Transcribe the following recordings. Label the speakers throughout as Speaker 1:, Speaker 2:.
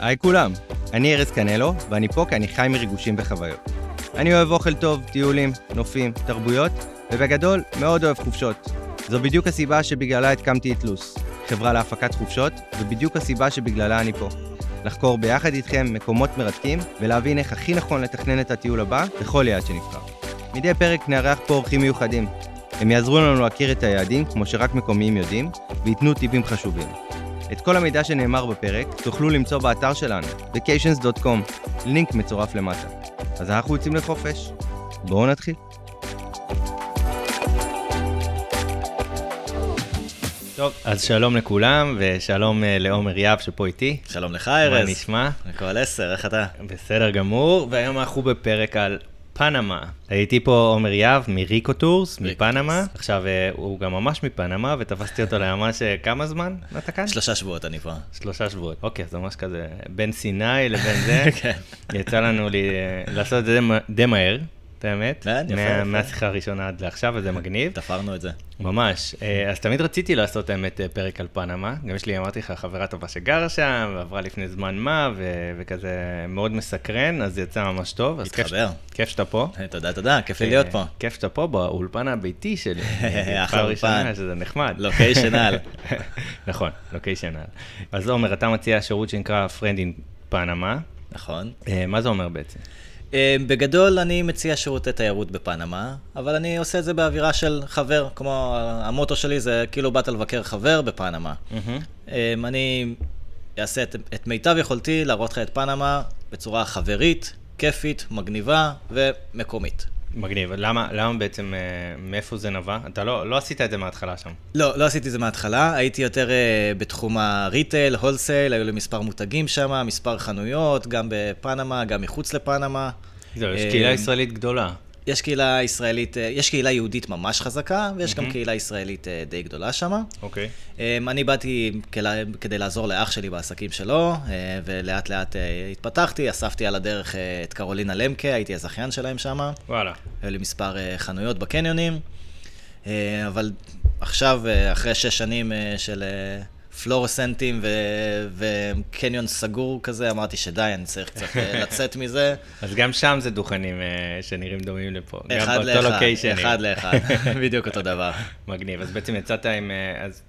Speaker 1: היי כולם, אני ארז קנלו, ואני פה כי אני חי מריגושים וחוויות. אני אוהב אוכל טוב, טיולים, נופים, תרבויות, ובגדול, מאוד אוהב חופשות. זו בדיוק הסיבה שבגללה הקמתי את לוס, חברה להפקת חופשות, ובדיוק הסיבה שבגללה אני פה. לחקור ביחד איתכם מקומות מרתקים, ולהבין איך הכי נכון לתכנן את הטיול הבא בכל יעד שנבחר. מדי פרק נארח פה אורחים מיוחדים. הם יעזרו לנו להכיר את היעדים כמו שרק מקומיים יודעים, וייתנו טיפים חשובים. את כל המידע שנאמר בפרק תוכלו למצוא באתר שלנו, vacations.com, לינק מצורף למטה. אז אנחנו יוצאים לחופש. בואו נתחיל. טוב, אז שלום לכולם, ושלום אה, לעומר יהב שפה איתי.
Speaker 2: שלום לך,
Speaker 1: מה
Speaker 2: ארז.
Speaker 1: נשמע?
Speaker 2: הכל עשר, איך אתה?
Speaker 1: בסדר גמור, והיום אנחנו בפרק על פנמה. הייתי פה עומר יהב מריקו טורס,
Speaker 2: ריקו
Speaker 1: מפנמה.
Speaker 2: טורס.
Speaker 1: עכשיו, אה, הוא גם ממש מפנמה, ותפסתי אותו לממש אה, כמה זמן אתה כאן?
Speaker 2: שלושה שבועות אני פה.
Speaker 1: שלושה שבועות. אוקיי, אז ממש כזה, בין סיני לבין זה,
Speaker 2: כן.
Speaker 1: יצא לנו לי, אה, לעשות את זה די מה- די מהר, את האמת.
Speaker 2: כן, יפה,
Speaker 1: מה-
Speaker 2: יפה.
Speaker 1: מהשיחה הראשונה עד לעכשיו, וזה מגניב.
Speaker 2: תפרנו את זה.
Speaker 1: ממש. אה, אז תמיד רציתי לעשות, האמת, אה, פרק על פנמה. גם יש לי, אמרתי לך, חברה טובה שגרה שם, ועברה לפני זמן מה, ו- וכזה מאוד מסקרן, אז זה יצא ממש טוב. אז כיף ש-
Speaker 2: התחבר.
Speaker 1: כיף שאתה פה.
Speaker 2: היי, תודה, תודה, כיף לי להיות פה.
Speaker 1: אה, כיף שאתה פה באולפן הביתי שלי.
Speaker 2: אחלה
Speaker 1: פעם ראשונה
Speaker 2: אולפן.
Speaker 1: שזה נחמד.
Speaker 2: לוקיישן על.
Speaker 1: נכון, לוקיישן על. אז עומר, אתה מציע שירות שנקרא Friend in פנמה.
Speaker 2: נכון.
Speaker 1: אה, מה זה אומר בעצם?
Speaker 2: אה, בגדול, אני מציע שירותי תיירות בפנמה, אבל אני עושה את זה באווירה של חבר, כמו המוטו שלי זה כאילו באת לבקר חבר בפנמה. אה, אני אעשה את, את מיטב יכולתי להראות לך את פנמה בצורה חברית, כיפית, מגניבה ומקומית.
Speaker 1: מגניב. למה למה בעצם, אה, מאיפה זה נבע? אתה לא לא עשית את זה מההתחלה שם.
Speaker 2: לא, לא עשיתי את זה מההתחלה, הייתי יותר אה, בתחום הריטייל, הולסייל, היו לי מספר מותגים שם, מספר חנויות, גם בפנמה, גם מחוץ לפנמה.
Speaker 1: זהו, יש
Speaker 2: אה,
Speaker 1: קהילה ישראלית גדולה.
Speaker 2: יש קהילה ישראלית, אה, יש קהילה יהודית ממש חזקה, ויש גם קהילה ישראלית אה, די גדולה שם.
Speaker 1: אוקיי.
Speaker 2: אני באתי כל- כדי לעזור לאח שלי בעסקים שלו, אה, ולאט לאט אה, התפתחתי, אספתי על הדרך אה, את קרולינה למקה, הייתי הזכיין שלהם שם.
Speaker 1: וואלה.
Speaker 2: היו לי מספר אה, חנויות בקניונים, אה, אבל עכשיו, אה, אחרי שש שנים אה, של אה, פלורסנטים ו- וקניון סגור כזה, אמרתי שדי, אני צריך קצת אה, לצאת מזה.
Speaker 1: אז גם שם זה דוכנים אה, שנראים דומים לפה. גם
Speaker 2: אחד
Speaker 1: באותו
Speaker 2: לאחד,
Speaker 1: לוקיישנים.
Speaker 2: אחד לאחד, בדיוק אותו דבר.
Speaker 1: מגניב. אז בעצם יצאת עם... אה, אז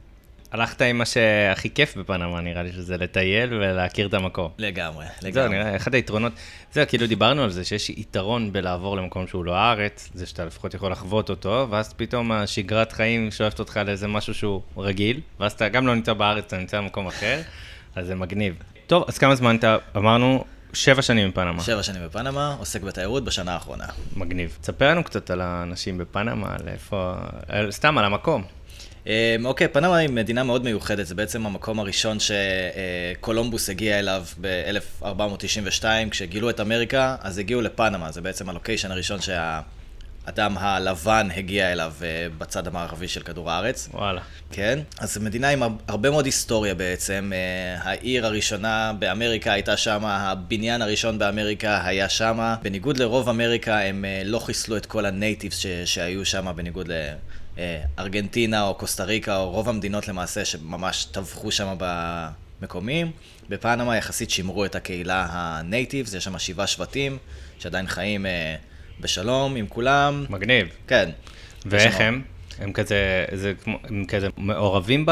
Speaker 1: הלכת עם מה שהכי כיף בפנמה, נראה לי, שזה לטייל ולהכיר את המקום.
Speaker 2: לגמרי,
Speaker 1: זהו,
Speaker 2: לגמרי.
Speaker 1: נראה, אחד היתרונות, זהו, כאילו דיברנו על זה, שיש יתרון בלעבור למקום שהוא לא הארץ, זה שאתה לפחות יכול לחוות אותו, ואז פתאום השגרת חיים שואפת אותך לאיזה משהו שהוא רגיל, ואז אתה גם לא נמצא בארץ, אתה נמצא במקום אחר, אז זה מגניב. טוב, אז כמה זמן אתה, אמרנו, שבע שנים בפנמה.
Speaker 2: שבע שנים בפנמה, עוסק בתיירות בשנה האחרונה.
Speaker 1: מגניב. תספר לנו קצת על האנשים בפנמה, על איפה... על- סתם, על המקום.
Speaker 2: אה, אוקיי, פנמה היא מדינה מאוד מיוחדת, זה בעצם המקום הראשון שקולומבוס הגיע אליו ב-1492, כשגילו את אמריקה, אז הגיעו לפנמה, זה בעצם הלוקיישן הראשון שהאדם הלבן הגיע אליו אה, בצד המערבי של כדור הארץ.
Speaker 1: וואלה.
Speaker 2: כן, אז זו מדינה עם הר- הרבה מאוד היסטוריה בעצם. אה, העיר הראשונה באמריקה הייתה שמה, הבניין הראשון באמריקה היה שמה. בניגוד לרוב אמריקה, הם אה, לא חיסלו את כל הנייטיבס ש- שהיו שמה, בניגוד לארגנטינה או קוסטה ריקה, או רוב המדינות למעשה שממש טבחו שמה במקומים. בפנמה יחסית שימרו את הקהילה הנייטיבס, יש שם שבעה שבטים שעדיין חיים אה, בשלום עם כולם.
Speaker 1: מגניב.
Speaker 2: כן. יש
Speaker 1: ואיך
Speaker 2: שם-
Speaker 1: הם? הם כזה, זה כמו, הם כזה מעורבים ב,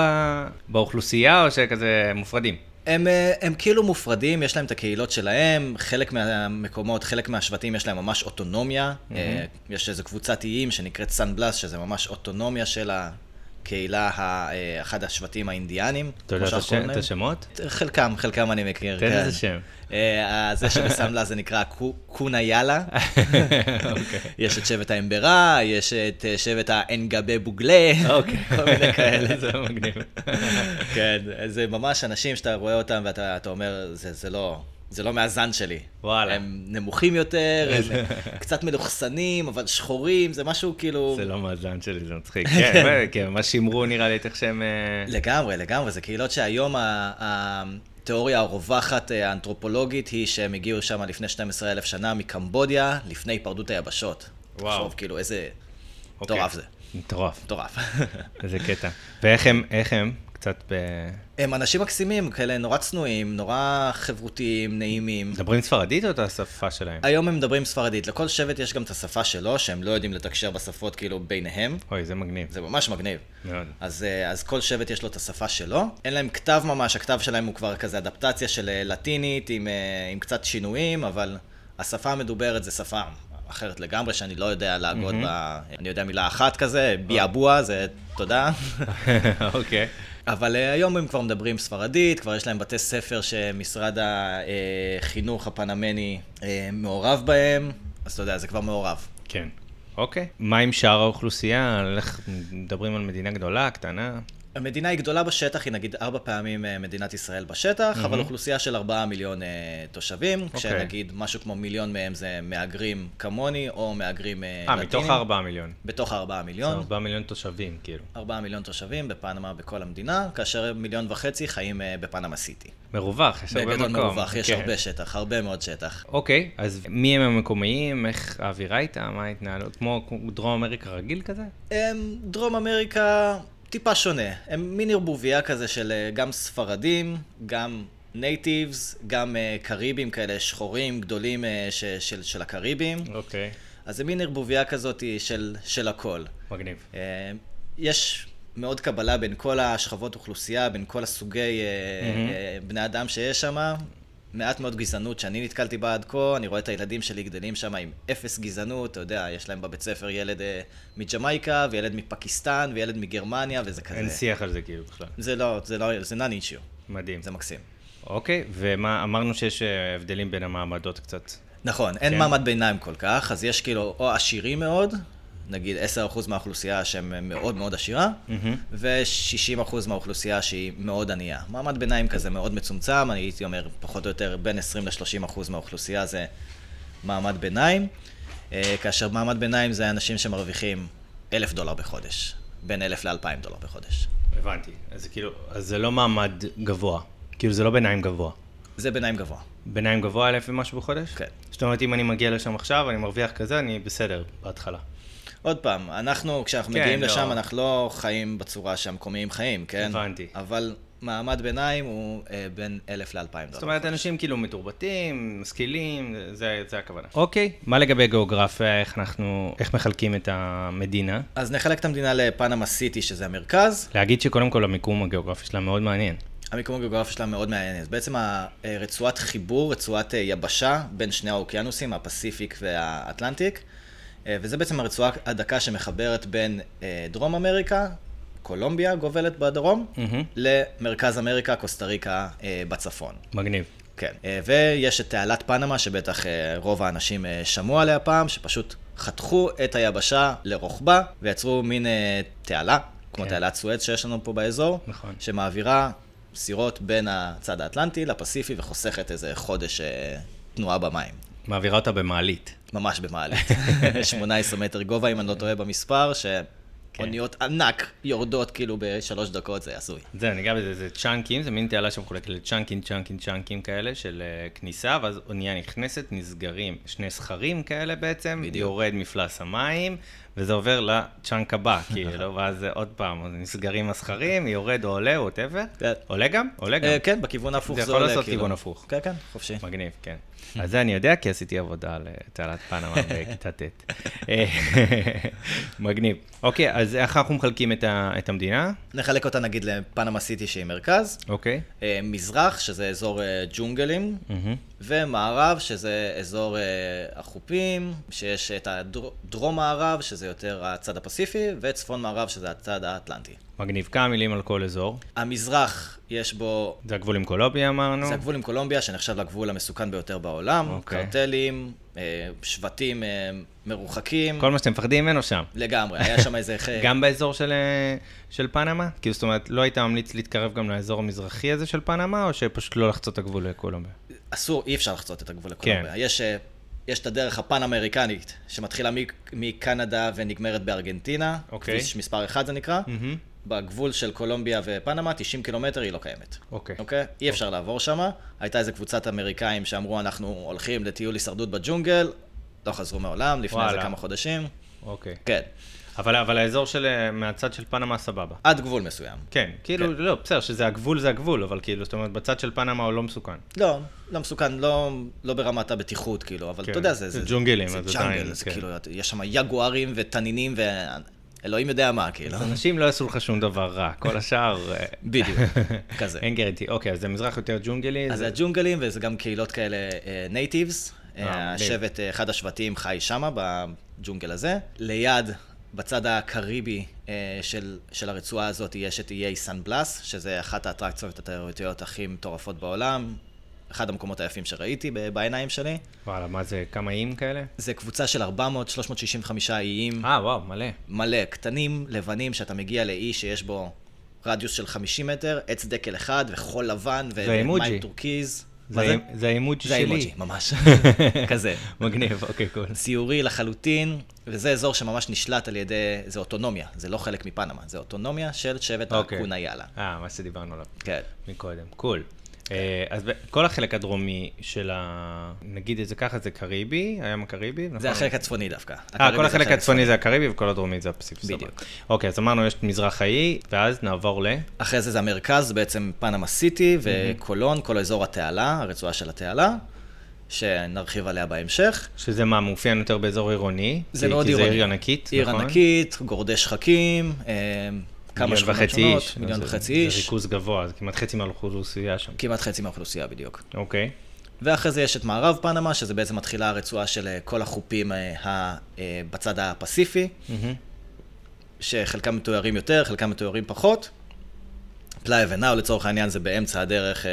Speaker 1: באוכלוסייה, או שכזה מופרדים?
Speaker 2: הם, אה, הם כאילו מופרדים, יש להם את הקהילות שלהם, חלק מהמקומות, חלק מהשבטים יש להם ממש אוטונומיה. Mm-hmm. יש איזו קבוצת איים שנקראת סן בלס, שזה ממש אוטונומיה של הקהילה, ה- אה, אחד השבטים האינדיאנים.
Speaker 1: אתה יודע
Speaker 2: כמו
Speaker 1: את
Speaker 2: שאנחנו
Speaker 1: השם-
Speaker 2: קוראים
Speaker 1: את
Speaker 2: להם.
Speaker 1: השמות?
Speaker 2: חלקם, חלקם אני מכיר.
Speaker 1: תן
Speaker 2: כן.
Speaker 1: איזה שם.
Speaker 2: אה, זה שבסן בלס זה נקרא קו- קונה יאללה.
Speaker 1: אוקיי.
Speaker 2: יש את שבט האמברה, יש את אה, שבט האנגבה בוגלה,
Speaker 1: אוקיי.
Speaker 2: כל מיני כאלה.
Speaker 1: זה מגניב.
Speaker 2: כן, זה ממש אנשים שאתה רואה אותם ואתה אתה אומר, זה, זה לא... זה לא מהזן שלי.
Speaker 1: וואלה.
Speaker 2: הם נמוכים יותר, הם קצת מלוכסנים, אבל שחורים, זה משהו כאילו...
Speaker 1: זה לא מהזן שלי, זה מצחיק. כן, ו- כן, מה שימרו נראה לי את איך שהם... אה,
Speaker 2: לגמרי, לגמרי, זה קהילות שהיום ה- ה- התיאוריה הרווחת אה, האנתרופולוגית היא שהם הגיעו שם לפני 12,000 שנה מקמבודיה, לפני היפרדות היבשות.
Speaker 1: וואו.
Speaker 2: תחשוב, כאילו, איזה...
Speaker 1: אוקיי.
Speaker 2: מטורף זה,
Speaker 1: מטורף.
Speaker 2: מטורף.
Speaker 1: איזה קטע. ואיך הם, איך הם? קצת ב...
Speaker 2: הם אנשים מקסימים, כאלה נורא צנועים, נורא חברותיים, נעימים.
Speaker 1: מדברים ספרדית או את השפה שלהם?
Speaker 2: היום הם מדברים ספרדית, לכל שבט יש גם את השפה שלו, שהם לא יודעים לתקשר בשפות כאילו ביניהם.
Speaker 1: אוי, זה מגניב.
Speaker 2: זה ממש מגניב.
Speaker 1: מאוד.
Speaker 2: אז, אה, אז כל שבט יש לו את השפה שלו. אין להם כתב ממש, הכתב שלהם הוא כבר כזה אדפטציה של אה, לטינית עם, אה, עם קצת שינויים, אבל השפה המדוברת זה שפה אחרת לגמרי, שאני לא יודע להגות mm-hmm. בה. אני יודע מילה אחת כזה, ביאבוע, זה תודה.
Speaker 1: אוקיי.
Speaker 2: אבל אה, היום הם כבר מדברים ספרדית, כבר יש להם בתי ספר שמשרד החינוך הפנמני אה, מעורב בהם, אז אתה יודע, זה כבר מעורב.
Speaker 1: כן. אוקיי. מה עם שאר האוכלוסייה? לך, מדברים על מדינה גדולה, קטנה. אה,
Speaker 2: המדינה היא גדולה בשטח, היא נגיד ארבע פעמים אה, מדינת ישראל בשטח, אבל אוכלוסייה של ארבעה מיליון אה, תושבים,
Speaker 1: אוקיי.
Speaker 2: כשנגיד משהו כמו מיליון מהם זה מהגרים כמוני, או מהגרים אה,
Speaker 1: אה,
Speaker 2: לטינים.
Speaker 1: מתוך הארבעה מיליון.
Speaker 2: בתוך הארבעה
Speaker 1: זה
Speaker 2: מיליון.
Speaker 1: ארבעה מיליון תושבים, כאילו.
Speaker 2: ארבעה מיליון תושבים בפנמה בכל המדינה, כאשר מיליון וחצי חיים אה, בפנמה סיטי.
Speaker 1: מרווח, יש הרבה מקום.
Speaker 2: בגדול מרווח, יש
Speaker 1: כן.
Speaker 2: הרבה שטח, הרבה מאוד שטח.
Speaker 1: אוקיי, אז מי הם המקומיים? איך האווירה איתה? מה ההתנהלות? כמו כמו דרום אמריקה רגיל כזה?
Speaker 2: הם, דרום אמריקה טיפה שונה. הם מין ערבוביה כזה של אה, גם ספרדים, גם נייטיבס, גם אה, קריבים כאלה שחורים גדולים אה, ש, של, של הקריבים.
Speaker 1: אוקיי.
Speaker 2: אז זה מין ערבוביה כזאת של, של הכל.
Speaker 1: מגניב.
Speaker 2: אה, יש מאוד קבלה בין כל השכבות אוכלוסייה, בין כל הסוגי אה, אה, בני אדם שיש שם. מעט מאוד גזענות שאני נתקלתי בה עד כה, אני רואה את הילדים שלי גדלים שם עם אפס גזענות, אתה יודע, יש להם בבית ספר ילד אה, מג'מייקה, וילד מפקיסטן, וילד מגרמניה, וזה כזה.
Speaker 1: אין שיח על זה כאילו בכלל.
Speaker 2: זה לא, זה לא, זה נאן אישיו,
Speaker 1: מדהים.
Speaker 2: זה מקסים.
Speaker 1: אוקיי, ומה, אמרנו שיש אה, הבדלים בין המעמדות קצת.
Speaker 2: נכון, אין
Speaker 1: כן.
Speaker 2: מעמד ביניים כל כך, אז יש כאילו או עשירים מאוד, נגיד 10% מהאוכלוסייה שהם מאוד מאוד עשירה, ו-60% מהאוכלוסייה שהיא מאוד ענייה. מעמד ביניים כזה מאוד מצומצם, אני הייתי אומר פחות או יותר בין 20 ל-30% מהאוכלוסייה זה מעמד ביניים, אה, כאשר מעמד ביניים זה אנשים שמרוויחים 1,000 דולר בחודש, בין 1,000 ל-2,000 דולר בחודש.
Speaker 1: הבנתי. אז זה כאילו, אז זה לא מעמד גבוה. כאילו, זה לא ביניים גבוה.
Speaker 2: זה ביניים גבוה.
Speaker 1: ביניים גבוה אלף ומשהו בחודש?
Speaker 2: כן.
Speaker 1: זאת אומרת, אם אני מגיע לשם עכשיו, אני מרוויח כזה, אני בסדר, בהתחלה.
Speaker 2: עוד פעם, אנחנו, כשאנחנו
Speaker 1: כן,
Speaker 2: כן, מגיעים
Speaker 1: לא.
Speaker 2: לא. לשם, אנחנו לא חיים בצורה שהמקומיים חיים, כן?
Speaker 1: הבנתי.
Speaker 2: אבל מעמד ביניים הוא אה, בין 1,000 ל-2,000 דולר.
Speaker 1: זאת אומרת, אנשים כאילו מתורבתים, משכילים, זה, זה הכוונה. אוקיי, מה לגבי גיאוגרפיה, איך אנחנו, איך מחלקים את המדינה?
Speaker 2: אז נחלק את המדינה לפנמה סיטי, שזה המרכז.
Speaker 1: להגיד שקודם כל המיקום הגיאוגרפי שלה מאוד מעניין.
Speaker 2: המיקום הגיאוגרפי שלה מאוד מעניין. אז בעצם ה- אה, רצועת חיבור, רצועת אה, יבשה בין שני האוקיינוסים, הפסיפיק והאטלנטיק. אה, וזה בעצם הרצועה הדקה שמחברת בין אה, דרום אמריקה, קולומביה גובלת בדרום,
Speaker 1: מהמם.
Speaker 2: למרכז אמריקה, קוסטה ריקה אה, בצפון.
Speaker 1: מגניב.
Speaker 2: כן, אה, ויש את תעלת פנמה, שבטח אה, רוב האנשים אה, שמעו עליה פעם, שפשוט חתכו את היבשה לרוחבה, ויצרו מין אה, תעלה, כמו
Speaker 1: כן.
Speaker 2: תעלת סואץ שיש לנו פה באזור,
Speaker 1: נכון.
Speaker 2: שמעבירה סירות בין הצד האטלנטי לפסיפי, וחוסכת איזה חודש אה, תנועה במים.
Speaker 1: מעבירה אותה במעלית.
Speaker 2: ממש במעלית. 18 מטר גובה, אם אני לא טועה במספר, שאוניות
Speaker 1: כן.
Speaker 2: ענק יורדות כאילו בשלוש דקות, זה הזוי.
Speaker 1: זה, ניגע בזה, זה צ'אנקים, זה מין תעלה שמחולקת לצ'אנקים, צ'אנקים, צ'אנקים כאלה של אה, כניסה, ואז אונייה נכנסת, נסגרים שני סכרים כאלה בעצם, בדיוק. יורד מפלס המים, וזה עובר לצ'אנק הבא, כאילו, ואז אה, עוד פעם, אז נסגרים הסכרים, יורד או עולה, ווטאבר.
Speaker 2: כן.
Speaker 1: עולה גם? עולה גם.
Speaker 2: אה, כן, בכיוון ההפוך
Speaker 1: זה
Speaker 2: זה
Speaker 1: יכול
Speaker 2: עולה,
Speaker 1: לעשות כיוון הפוך.
Speaker 2: כן, כן, חופשי.
Speaker 1: מגניב, כן. אז זה אני יודע, כי עשיתי עבודה על אה, תעלת פנמה בכיתה ט'. אה, מגניב. אוקיי, אז איך אנחנו מחלקים את ה- את המדינה?
Speaker 2: נחלק אותה נגיד לפנמה סיטי שהיא מרכז,
Speaker 1: אוקיי.
Speaker 2: אה, מזרח, שזה אזור אה, ג'ונגלים,
Speaker 1: מהמם.
Speaker 2: ומערב, שזה אזור אה, החופים, שיש את הדרום-מערב, שזה יותר הצד הפסיפי, וצפון-מערב, שזה הצד האטלנטי.
Speaker 1: מגניב. כמה מילים על כל אזור.
Speaker 2: המזרח, יש בו...
Speaker 1: זה הגבול עם קולומביה אמרנו.
Speaker 2: זה הגבול עם קולומביה, שנחשב לגבול המסוכן ביותר בעולם,
Speaker 1: אוקיי.
Speaker 2: קרטלים, אה, שבטים אה, מרוחקים,
Speaker 1: כל מה שאתם מפחדים ממנו שם.
Speaker 2: לגמרי, היה שם איזה... ח-
Speaker 1: גם באזור של, אה, של פנמה? כאילו, זאת אומרת, לא היית ממליץ להתקרב גם לאזור המזרחי הזה של פנמה, או שפשוט לא לחצות את הגבול לקולומביה?
Speaker 2: אסור, אי אפשר לחצות את הגבול לקולומביה.
Speaker 1: כן.
Speaker 2: כן. יש, אה, יש את הדרך הפן-אמריקנית, שמתחילה מ- מקנדה ונגמרת בארגנטינה.
Speaker 1: אוקיי. Mm.
Speaker 2: כביש מספר 1 זה נקרא. בגבול של קולומביה ופנמה, 90 קילומטר היא לא קיימת.
Speaker 1: אוקיי.
Speaker 2: אוקיי? אי אפשר לעבור שמה. הייתה איזו קבוצת אמריקאים שאמרו, אנחנו הולכים לטיול הישרדות בג'ונגל, לא חזרו מעולם, לפני איזה
Speaker 1: וואלה.
Speaker 2: כמה חודשים.
Speaker 1: אוקיי.
Speaker 2: כן.
Speaker 1: אבל, אבל האזור של, אה, מהצד של פנמה סבבה.
Speaker 2: עד גבול מסוים.
Speaker 1: כן, כאילו,
Speaker 2: כן.
Speaker 1: לא, בסדר, שזה הגבול זה הגבול, אבל כאילו, זאת אומרת, בצד של פנמה הוא לא מסוכן.
Speaker 2: לא, לא מסוכן, לא, לא ברמת הבטיחות, כאילו, אבל
Speaker 1: כן.
Speaker 2: אתה יודע, זה...
Speaker 1: זה ג'ונגלים,
Speaker 2: זה
Speaker 1: אז
Speaker 2: ג'אנגל,
Speaker 1: עדיין,
Speaker 2: זה
Speaker 1: כן.
Speaker 2: כאילו, יש שם יגוארים ותנינים ואלוהים יודע מה, כאילו.
Speaker 1: אז אנשים לא יעשו לך שום דבר רע, כל השאר... אה,
Speaker 2: בדיוק, כזה.
Speaker 1: אין גרנטי. אוקיי, אז זה מזרח יותר ג'ונגלי.
Speaker 2: אז
Speaker 1: זה-
Speaker 2: זה הג'ונגלים, וזה גם קהילות כאלה נייטיבס.
Speaker 1: אה,
Speaker 2: השבט, אה, אחד השבטים חי שמה, בג'ונגל הזה. ליד, בצד הקריבי אה, של, של הרצועה הזאת, יש את E איי סן בלאס, שזה אחת האטרקציות התיירותיות הכי מטורפות בעולם. אחד המקומות היפים שראיתי ב- בעיניים שלי.
Speaker 1: וואלה, מה זה, כמה איים כאלה?
Speaker 2: זה קבוצה של 400, 365 איים.
Speaker 1: אה, וואו, מלא.
Speaker 2: מלא, קטנים, לבנים, שאתה מגיע לאי שיש בו רדיוס של 50 מטר, עץ דקל אחד וחול לבן ו-
Speaker 1: זה אימוג'י.
Speaker 2: ומים טורקיז.
Speaker 1: זה
Speaker 2: מה זה?
Speaker 1: האימ- זה האימוג'
Speaker 2: זה האימוג'י,
Speaker 1: שלי.
Speaker 2: ממש. כזה.
Speaker 1: מגניב, אוקיי, קול.
Speaker 2: ציורי לחלוטין, וזה אזור שממש נשלט על ידי, זה אוטונומיה, זה לא חלק מפנמה, זה אוטונומיה של שבט
Speaker 1: אוקיי.
Speaker 2: הקונאיילה.
Speaker 1: אה, מה שדיברנו עליו
Speaker 2: כן.
Speaker 1: מקודם. קול. אה, אז ב- כל החלק הדרומי של ה... נגיד את זה ככה, זה קריבי, הים הקריבי, נכון?
Speaker 2: זה החלק הצפוני דווקא.
Speaker 1: אה,
Speaker 2: הקריבי
Speaker 1: כל
Speaker 2: זה
Speaker 1: החלק הצפוני זה הקריבי וכל הדרומי זה הפסיפס. סבבה.
Speaker 2: בדיוק.
Speaker 1: אוקיי, אז אמרנו יש את מזרח האי, ואז נעבור ל...
Speaker 2: אחרי זה זה המרכז, בעצם פנמה סיטי וקולון, כל אזור התעלה, הרצועה של התעלה, שנרחיב עליה בהמשך.
Speaker 1: שזה מה, מאופיין יותר באזור עירוני?
Speaker 2: זה
Speaker 1: כי-
Speaker 2: מאוד
Speaker 1: כי
Speaker 2: עירוני.
Speaker 1: זה עיר ענקית,
Speaker 2: עיר
Speaker 1: נכון?
Speaker 2: ענקית, גורדי שחקים, אה, כמה
Speaker 1: מיליון
Speaker 2: שכונות
Speaker 1: וחצי
Speaker 2: שונות,
Speaker 1: איש.
Speaker 2: מיליון
Speaker 1: אז זה-
Speaker 2: וחצי איש.
Speaker 1: זה ריכוז גבוה, זה כמעט חצי מהאוכלוסייה שם.
Speaker 2: כמעט חצי מהאוכלוסייה בדיוק.
Speaker 1: אוקיי.
Speaker 2: ואחרי זה יש את מערב פנמה, שזה בעצם מתחילה הרצועה של אה, כל החופים אה, ה- אה, בצד הפסיפי, שחלקם מתוארים יותר, חלקם מתוארים פחות. פלאי ונאו לצורך העניין זה באמצע הדרך אה,